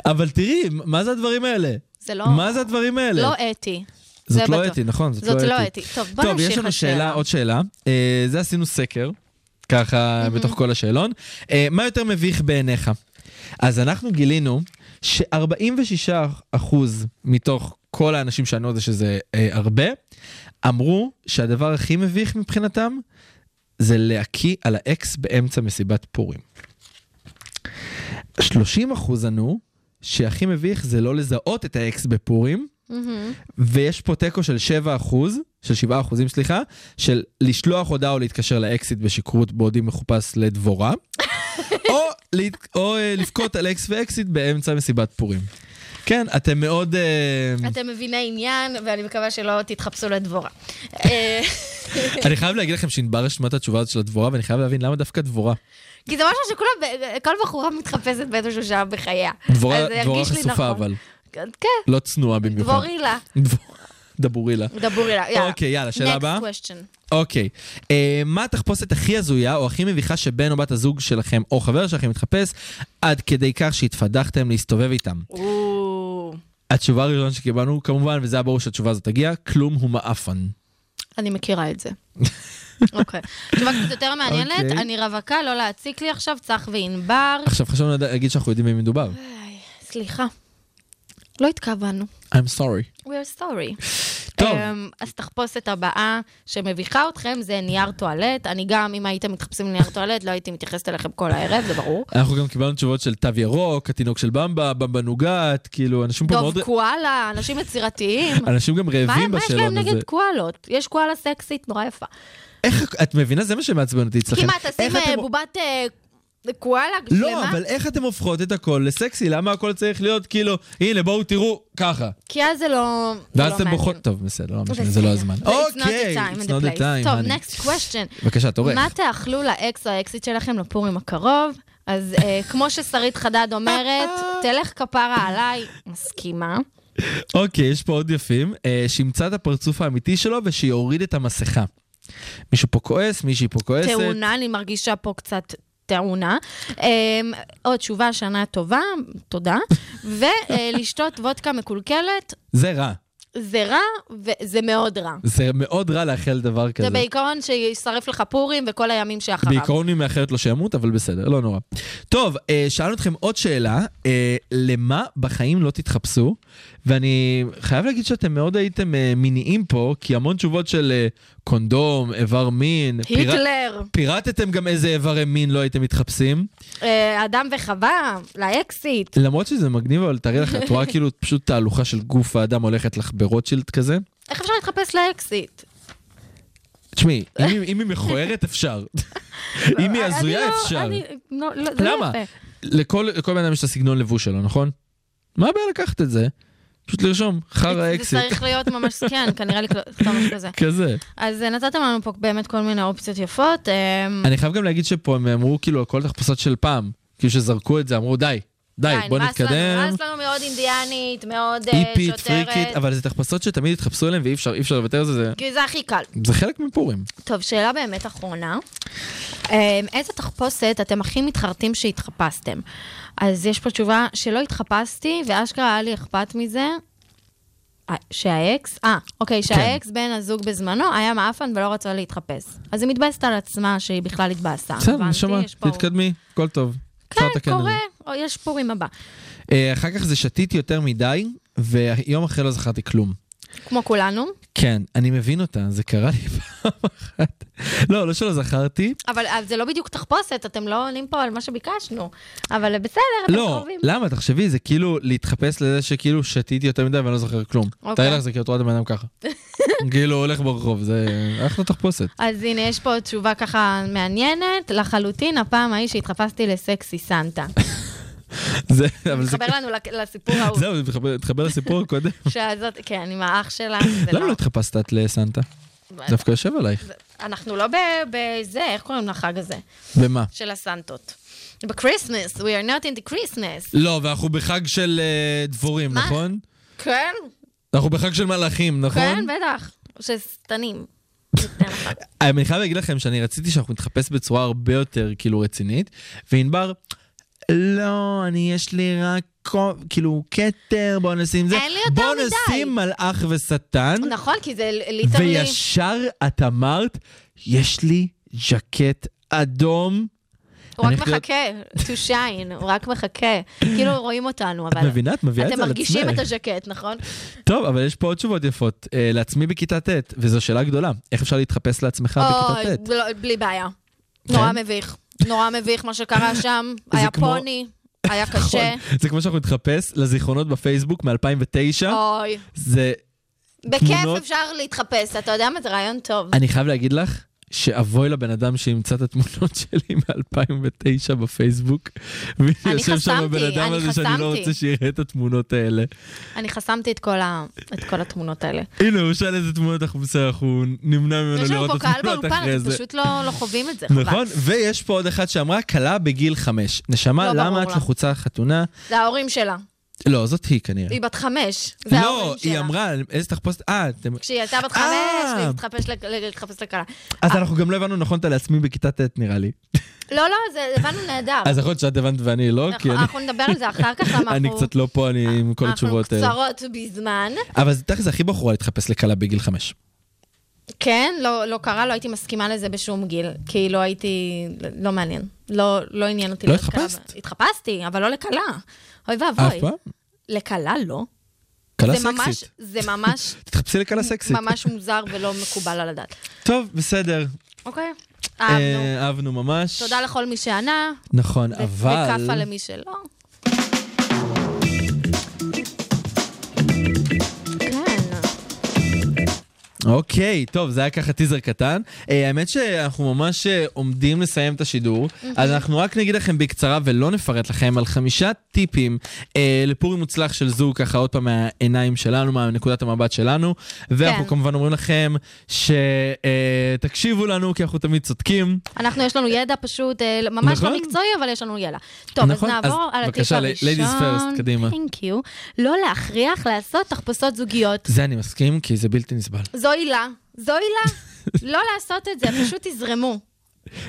אבל תראי, מה זה הדברים האלה? זה לא... מה זה הדברים האלה? לא אתי. זאת זה לא בטוח. אתי, נכון, זאת זאת לא לא אתי. אתי. טוב, בוא טוב, נמשיך יש לנו לשאלה. שאלה, עוד שאלה. אה, זה עשינו סקר, ככה בתוך כל השאלון. אה, מה יותר מביך בעיניך? אז אנחנו גילינו ש-46% מתוך כל האנשים שענו על זה, שזה אה, הרבה, אמרו שהדבר הכי מביך מבחינתם זה להקיא על האקס באמצע מסיבת פורים. 30 אחוז ענו שהכי מביך זה לא לזהות את האקס בפורים, מהמם. ויש פה תיקו של 7 אחוז, של 7 אחוזים סליחה, של לשלוח הודעה או להתקשר לאקסיט בשכרות בעודי מחופש לדבורה, או, להת... או אה, לבכות על אקס ואקסיט באמצע מסיבת פורים. כן, אתם מאוד... אה, אתם מביני עניין, ואני מקווה שלא תתחפשו לדבורה. אה, אני חייב להגיד לכם שענבר רשמה את התשובה הזאת של הדבורה, ואני חייב להבין למה דווקא דבורה. כי זה משהו שכולם, כל בחורה מתחפשת באיזשהו שעה בחייה. דבורה, אז זה ירגיש דבורה לי חשופה נכון. אבל, כן, לא צנועה במיוחד. דבורילה. דבור- דבורילה. דבורי לה, יאללה. אוקיי, יאללה, שאלה הבאה? Next question. אוקיי. אה, מה התחפושת הכי הזויה או הכי מביכה שבן או בת הזוג שלכם או חבר שלכם מתחפש עד כדי כך שהתפדחתם להסתובב איתם? או, התשובה הראשונה שקיבלנו, כמובן, וזה היה ברור שהתשובה הזאת תגיע, כלום הוא מעפן. אני מכירה את זה. *laughs* אוקיי. תשובה קצת יותר מעניינת, אוקיי. אני רווקה, לא להציק לי עכשיו, צח וענבר. עכשיו חשבנו לד- להגיד שאנחנו יודעים במי מדובר. סליחה. לא התכוונו. I'm sorry. We are sorry. טוב. אמ, אז תחפושת הבאה שמביכה אתכם זה נייר טואלט. אני גם, אם הייתם מתחפשים לנייר טואלט, לא הייתי מתייחסת אליכם כל הערב, זה ברור. אנחנו גם קיבלנו תשובות של תו ירוק, התינוק של במבה, במבה נוגת, כאילו, אנשים פה מאוד... דוב קואלה, *laughs* אנשים יצירתיים. אנשים גם מה רעבים מה יש להם בשאלון הזה. נגד קואלות? יש קואלה סקסית נורא יפה. איך, את מבינה? זה מה שמעצבן אותי אצלכם. כמעט, תשים איך אתם- אה, בובת אה, קואלה שלמה. לא, אבל איך אתם הופכות את הכל לסקסי? למה הכל צריך להיות כאילו, הנה, בואו תראו, ככה. כי אז זה לא... זה ואז לא אתם מעניין. בוכות, טוב, בסדר, לא משנה, זה לא הזמן. It's not the אוקיי, time it's and not the the time, place. טוב, honey. next question. בבקשה, תורך. מה תאכלו לאקס או האקסיט שלכם לפורים הקרוב? אז אה, *laughs* כמו ששרית חדד אומרת, *laughs* תלך כפרה עליי, מסכימה. אוקיי, יש פה עוד יפים. אה, שימצא את הפרצוף האמיתי שלו ושיוריד את המסכה. מישהו פה כועס, מישהי פה כועסת. תאונה, אני מרגישה פה קצת תאונה. אה, עוד תשובה, שנה טובה, תודה. *laughs* ולשתות וודקה מקולקלת, זה רע. זה רע וזה מאוד רע. זה מאוד רע לאחל דבר כזה. זה בעיקרון שישרף לך פורים וכל הימים שאחריו. בעיקרון היא מאחרת לו שימות, אבל בסדר, לא נורא. טוב, אה, שאלנו אתכם עוד שאלה, אה, למה בחיים לא תתחפשו? ואני חייב להגיד שאתם מאוד הייתם אה, מיניים פה, כי המון תשובות של אה, קונדום, איבר מין. פירט- היטלר. פירטתם גם איזה איברי מין לא הייתם מתחפשים. אה, אדם וחווה, לאקסיט. למרות שזה מגניב, אבל תארי לך, את רואה כאילו פשוט תהלוכה של גוף האדם הולכת לך ברוטשילד כזה. איך אפשר להתחפש לאקסיט? תשמעי, אם היא- אם היא מכוערת *laughs* אפשר. אם היא אני הזויה לא- אפשר. אני- לא, לא, זה לא למה? יפה. לכל לכל בן אדם יש את הסגנון לבוש שלו, נכון? מה הבעיה לקחת את זה? פשוט לרשום, חרא זה אקסיט. צריך להיות ממש, כן, כנראה לקלוט ממש כזה. *laughs* כזה. אז אה, נתתם לנו פה באמת כל מיני אופציות יפות. אה, אני חייב גם להגיד שפה הם אמרו כאילו על כל התחפושות של פעם. כאילו שזרקו את זה, אמרו די, די, בוא אה, נמאס לנו, נתקדם. נמאס לנו מאוד אינדיאנית, מאוד אה, איפית, פריקית, שוטרת. אבל זה תחפושות שתמיד התחפשו אליהן ואי אפשר, אי אפשר לוותר על זה, זה- כי זה הכי קל. זה חלק מפורים. טוב, שאלה באמת אחרונה. אה, איזה תחפושת אתם הכי מתחרטים שהתחפשתם? אז יש פה תשובה שלא התחפשתי, ואשכרה היה לי אכפת מזה. אה, שהאקס, אה, אוקיי, כן. שהאקס בן הזוג בזמנו היה מעפן ולא רצה להתחפש. אז היא מתבאסת על עצמה שהיא בכלל התבאסה. בסדר, הבנתי, נשמה, יש פה- תתקדמי, הכל טוב. אפשר לתקן את זה. כן, קורה, או יש פורים הבא, אה, אחר כך זה שתיתי יותר מדי, ויום אחרי לא זכרתי כלום. כמו כולנו. כן, אני מבין אותה, זה קרה לי *laughs* פעם אחת. לא, לא שלא זכרתי. אבל אבל זה לא בדיוק תחפושת, אתם לא עונים פה על מה שביקשנו. אבל בסדר, אתם לא, קרובים. למה? תחשבי, זה כאילו להתחפש לזה שכאילו שתיתי יותר מדי ואני לא זוכר כלום. אוקיי. תאר לך, זה כאילו את רואה את הבן אדם *laughs* ככה. כאילו הולך ברחוב, זה אחלה *laughs* תחפושת. אז הנה, יש פה תשובה ככה מעניינת. לחלוטין, הפעם ההיא שהתחפשתי לסקסי *laughs* סנטה. זה, אבל זה... מתחבר לנו לק- לסיפור *laughs* ההוא. זהו, זה מתחבר- מתחבר לסיפור הקודם. שהזאת, כן, עם האח שלה. *laughs* זה למה לא התחפשת את לסנטה? דווקא יושב עלייך. אנחנו לא ב- בזה, איך קוראים לחג הזה? במה? של הסנטות. בקריסמס, we are not in the Christmas. לא, ואנחנו בחג של אה, דבורים, מה? נכון? כן, אנחנו בחג של מלאכים, נכון? כן, בטח. ששטנים. אה, אני חייב להגיד לכם שאני רציתי שאנחנו נתחפש בצורה הרבה יותר כאילו רצינית, וענבר, לא, אני יש לי רק כו- כאילו כתר, בוא נשים זה, אין לי יותר בוא מדי. נשים מלאך ושטן, נכון, כי זה ליטרלי... וישר את אמרת, יש לי ז'קט אדום. הוא רק אני הולך להיות- מחכה, to shine, הוא רק מחכה. כאילו רואים אותנו, אבל... את מבינה? את מביאה את זה אתם על מרגישים עצמך. את הז'קט, נכון? טוב, אבל יש פה עוד תשובות יפות. אה, לעצמי בכיתה ט', וזו שאלה גדולה, איך אפשר להתחפש לעצמך בכיתה אוי, ט'? לא, בלי בעיה. כן? נורא מביך. נורא מביך מה *laughs* שקרה שם. היה כמו- פוני, היה קשה. *laughs* נכון. זה כמו שאנחנו נתחפש לזיכרונות בפייסבוק מ-2009. אוי. זה בכיף תמונות- אפשר להתחפש, אתה יודע מה? זה רעיון טוב. אני חייב להגיד לך שאבוי לבן אדם שימצא את התמונות *laughs* שלי מ-2009 בפייסבוק. ואני יושב שם חסמתי, הבן אדם אני הזה שאני לא חסמתי. רוצה שיראה את התמונות האלה. אני חסמתי את כל ה- את כל התמונות האלה. הנה, הוא שאל איזה תמונות אנחנו בסדר, אנחנו נמנע ממנו יש לנו לראות פה את קהל התמונות באולפן, לא, אחרי אתם זה. פשוט לא לא חווים את זה, חבל. נכון, ויש פה עוד אחת שאמרה, כלה בגיל חמש. נשמה, לא למה ברור את לה. לחוצה חתונה? זה ההורים שלה. לא, זאת היא כנראה. היא בת חמש. זה לא, ההורים שלה. היא אמרה, איזה תחפושת... אה, אתם... כשהיא הייתה בת אה. חמש, והיא התחפש לק- להתחפש לכלה. אז אנחנו גם לא הבנו נכון את הלעצמי בכיתה ט' נראה לי. לא, לא, זה הבנו נהדר. אז יכול להיות שאת הבנת ואני לא, כי אנחנו- אני... נכון, אנחנו נדבר על זה אחר כך, *laughs* למה אני אנחנו- קצת לא פה, אני עם כל התשובות האלה. אנחנו קצרות בזמן. אבל זה תכל'ס הכי בחורה להתחפש לכלה בגיל חמש. כן, לא, לא קרה, לא הייתי מסכימה לזה בשום גיל, כי לא הייתי, לא מעניין. לא, לא עניין אותי. לא להיות כלה. התחפשת? התחפשתי, אבל לא לכלה. אוי ואבוי. אף פעם? לכלה לא. כלה זה ממש, סקסית. זה ממש, תתחפשי לכלה *laughs* סקסית. ממש מוזר ולא מקובל על הדעת. טוב, בסדר. אוקיי? אהבנו. אה, אהבנו ממש. תודה לכל מי שענה, נכון, ו- אבל... וכאפה למי שלא. כן. אוקיי, טוב, זה היה ככה טיזר קטן. אה, האמת שאנחנו ממש אה, עומדים לסיים את השידור, אז אנחנו רק נגיד לכם בקצרה ולא נפרט לכם על חמישה טיפים אה, לפורים מוצלח של זוג, ככה עוד פעם מהעיניים שלנו, מנקודת המבט שלנו. ואנחנו כן. כמובן אומרים לכם שתקשיבו לנו, כי אנחנו תמיד צודקים. אנחנו, יש לנו ידע פשוט, אה, ממש נכון. לא מקצועי, אבל יש לנו ידע. טוב, אז נכון, אז נעבור על הטיפ בבקשה, הראשון. ל- ladies first, קדימה. Thank you. לא להכריח לעשות תחפושות זוגיות. זה אני מסכים, כי זה בלתי נסבל. זו עילה, זו *laughs* עילה. לא לעשות את זה, פשוט תזרמו.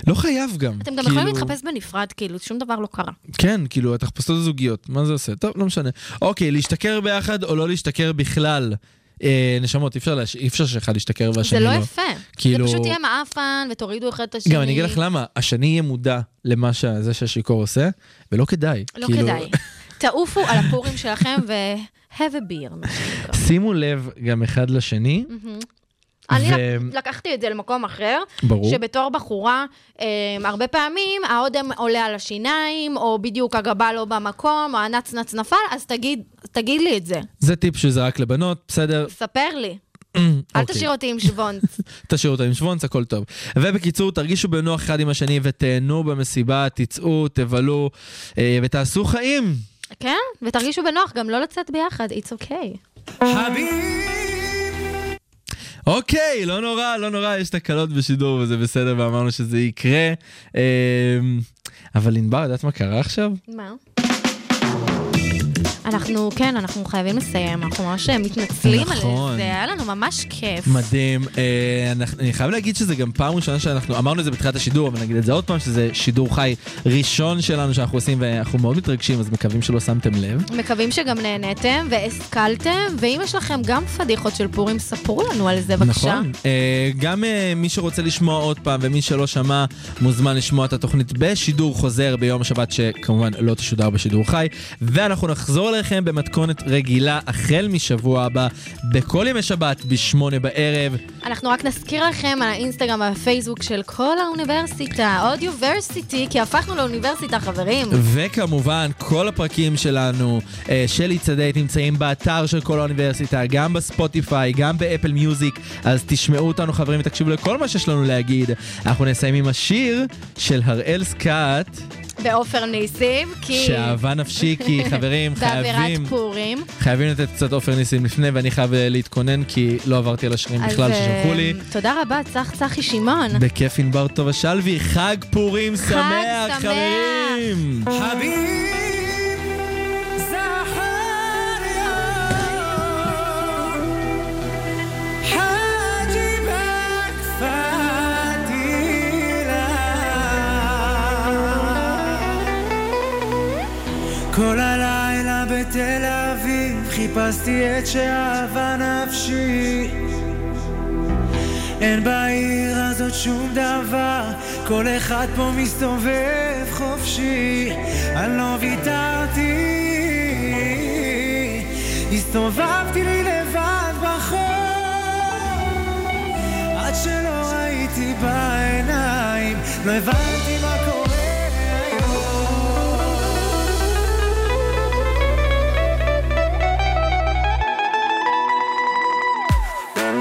לא חייב גם. אתם גם כאילו- יכולים להתחפש בנפרד, כאילו, שום דבר לא קרה. כן, כאילו, התחפושות הזוגיות, מה זה עושה? טוב, לא משנה. אוקיי, להשתכר ביחד או לא להשתכר בכלל. אה, נשמות, אי אפשר, להש... אי אפשר שאחד ישתכר והשני זה לא. לא יפה. כאילו- זה פשוט יהיה מעפן, ותורידו אחד את השני. גם אני אגיד לך למה, השני יהיה מודע למה שזה שהשיכור עושה, ולא כדאי. לא כאילו, כדאי. תעופו על הפורים שלכם ו- have a beer. מה שנקרא. שימו לב גם אחד לשני. מהמם. אני ו- לק- לקחתי את זה למקום אחר, ברור. שבתור בחורה, אמ, הרבה פעמים האודם עולה על השיניים, או בדיוק הגבה לא במקום, או הנצנץ נפל, אז תגיד, תגיד לי את זה, זה טיפ שזה רק לבנות, בסדר? ספר לי. אל אוקיי. תשאיר אותי עם שוונץ. *laughs* תשאירו אותם עם שוונץ, הכל טוב. ובקיצור, תרגישו בנוח אחד עם השני ותהנו במסיבה, תצאו, תבלו אה, ותעשו חיים. כן? ותרגישו בנוח גם לא לצאת ביחד, it's okay. אוקיי, לא נורא, לא נורא, יש תקלות בשידור וזה בסדר, ואמרנו שזה יקרה. אה, אבל ענבר, יודעת מה קרה עכשיו? מה? אנחנו, כן, אנחנו חייבים לסיים, אנחנו ממש מתנצלים על נכון. זה, היה לנו ממש כיף. מדהים. אה, אנחנו- אני חייב להגיד שזה גם פעם ראשונה שאנחנו, אמרנו את זה בתחילת השידור, אבל נגיד את זה עוד פעם, שזה שידור חי ראשון שלנו שאנחנו עושים, ואנחנו מאוד מתרגשים, אז מקווים שלא שמתם לב. מקווים שגם נהניתם והשכלתם, ואם יש לכם גם פדיחות של פורים, ספרו לנו על זה בבקשה. נכון. אה, גם אה, מי שרוצה לשמוע עוד פעם ומי שלא שמע, מוזמן לשמוע את התוכנית בשידור חוזר ביום השבת, שכמובן לא תשודר בשידור חי. ואנחנו נחזור אליכם במתכונת רגילה החל משבוע הבא, בכל ימי שבת, בשמונה בערב. אנחנו רק נזכיר לכם על האינסטגרם והפייסבוק של כל האוניברסיטה, אודיוורסיטי, כי הפכנו לאוניברסיטה, חברים. וכמובן, כל הפרקים שלנו אה, של It's a Date נמצאים באתר של כל האוניברסיטה, גם בספוטיפיי, גם באפל מיוזיק, אז תשמעו אותנו חברים ותקשיבו לכל מה שיש לנו להגיד. אנחנו נסיים עם השיר של הראל סקאט. ועופר ניסים, כי... שאהבה נפשי, *laughs* כי חברים, חייבים, באווירת פורים. חייבים לתת קצת עופר ניסים לפני, ואני חייב אה, להתכונן, כי לא עברתי על השרים אז, בכלל אה, ששלחו לי. תודה רבה, צח צחי שמעון. בכיף ענבר טובה שלוי, חג פורים חג שמח, שמח. חברים! حاجبك فاتيلك כל הלילה בתל אביב חיפשתי את שאהבה נפשי אין בעיר הזאת שום דבר, כל אחד פה מסתובב חופשי. אני לא ויתרתי, הסתובבתי לי לבד בחור, עד שלא ראיתי בעיניים, לא הבנתי מה קורה היום.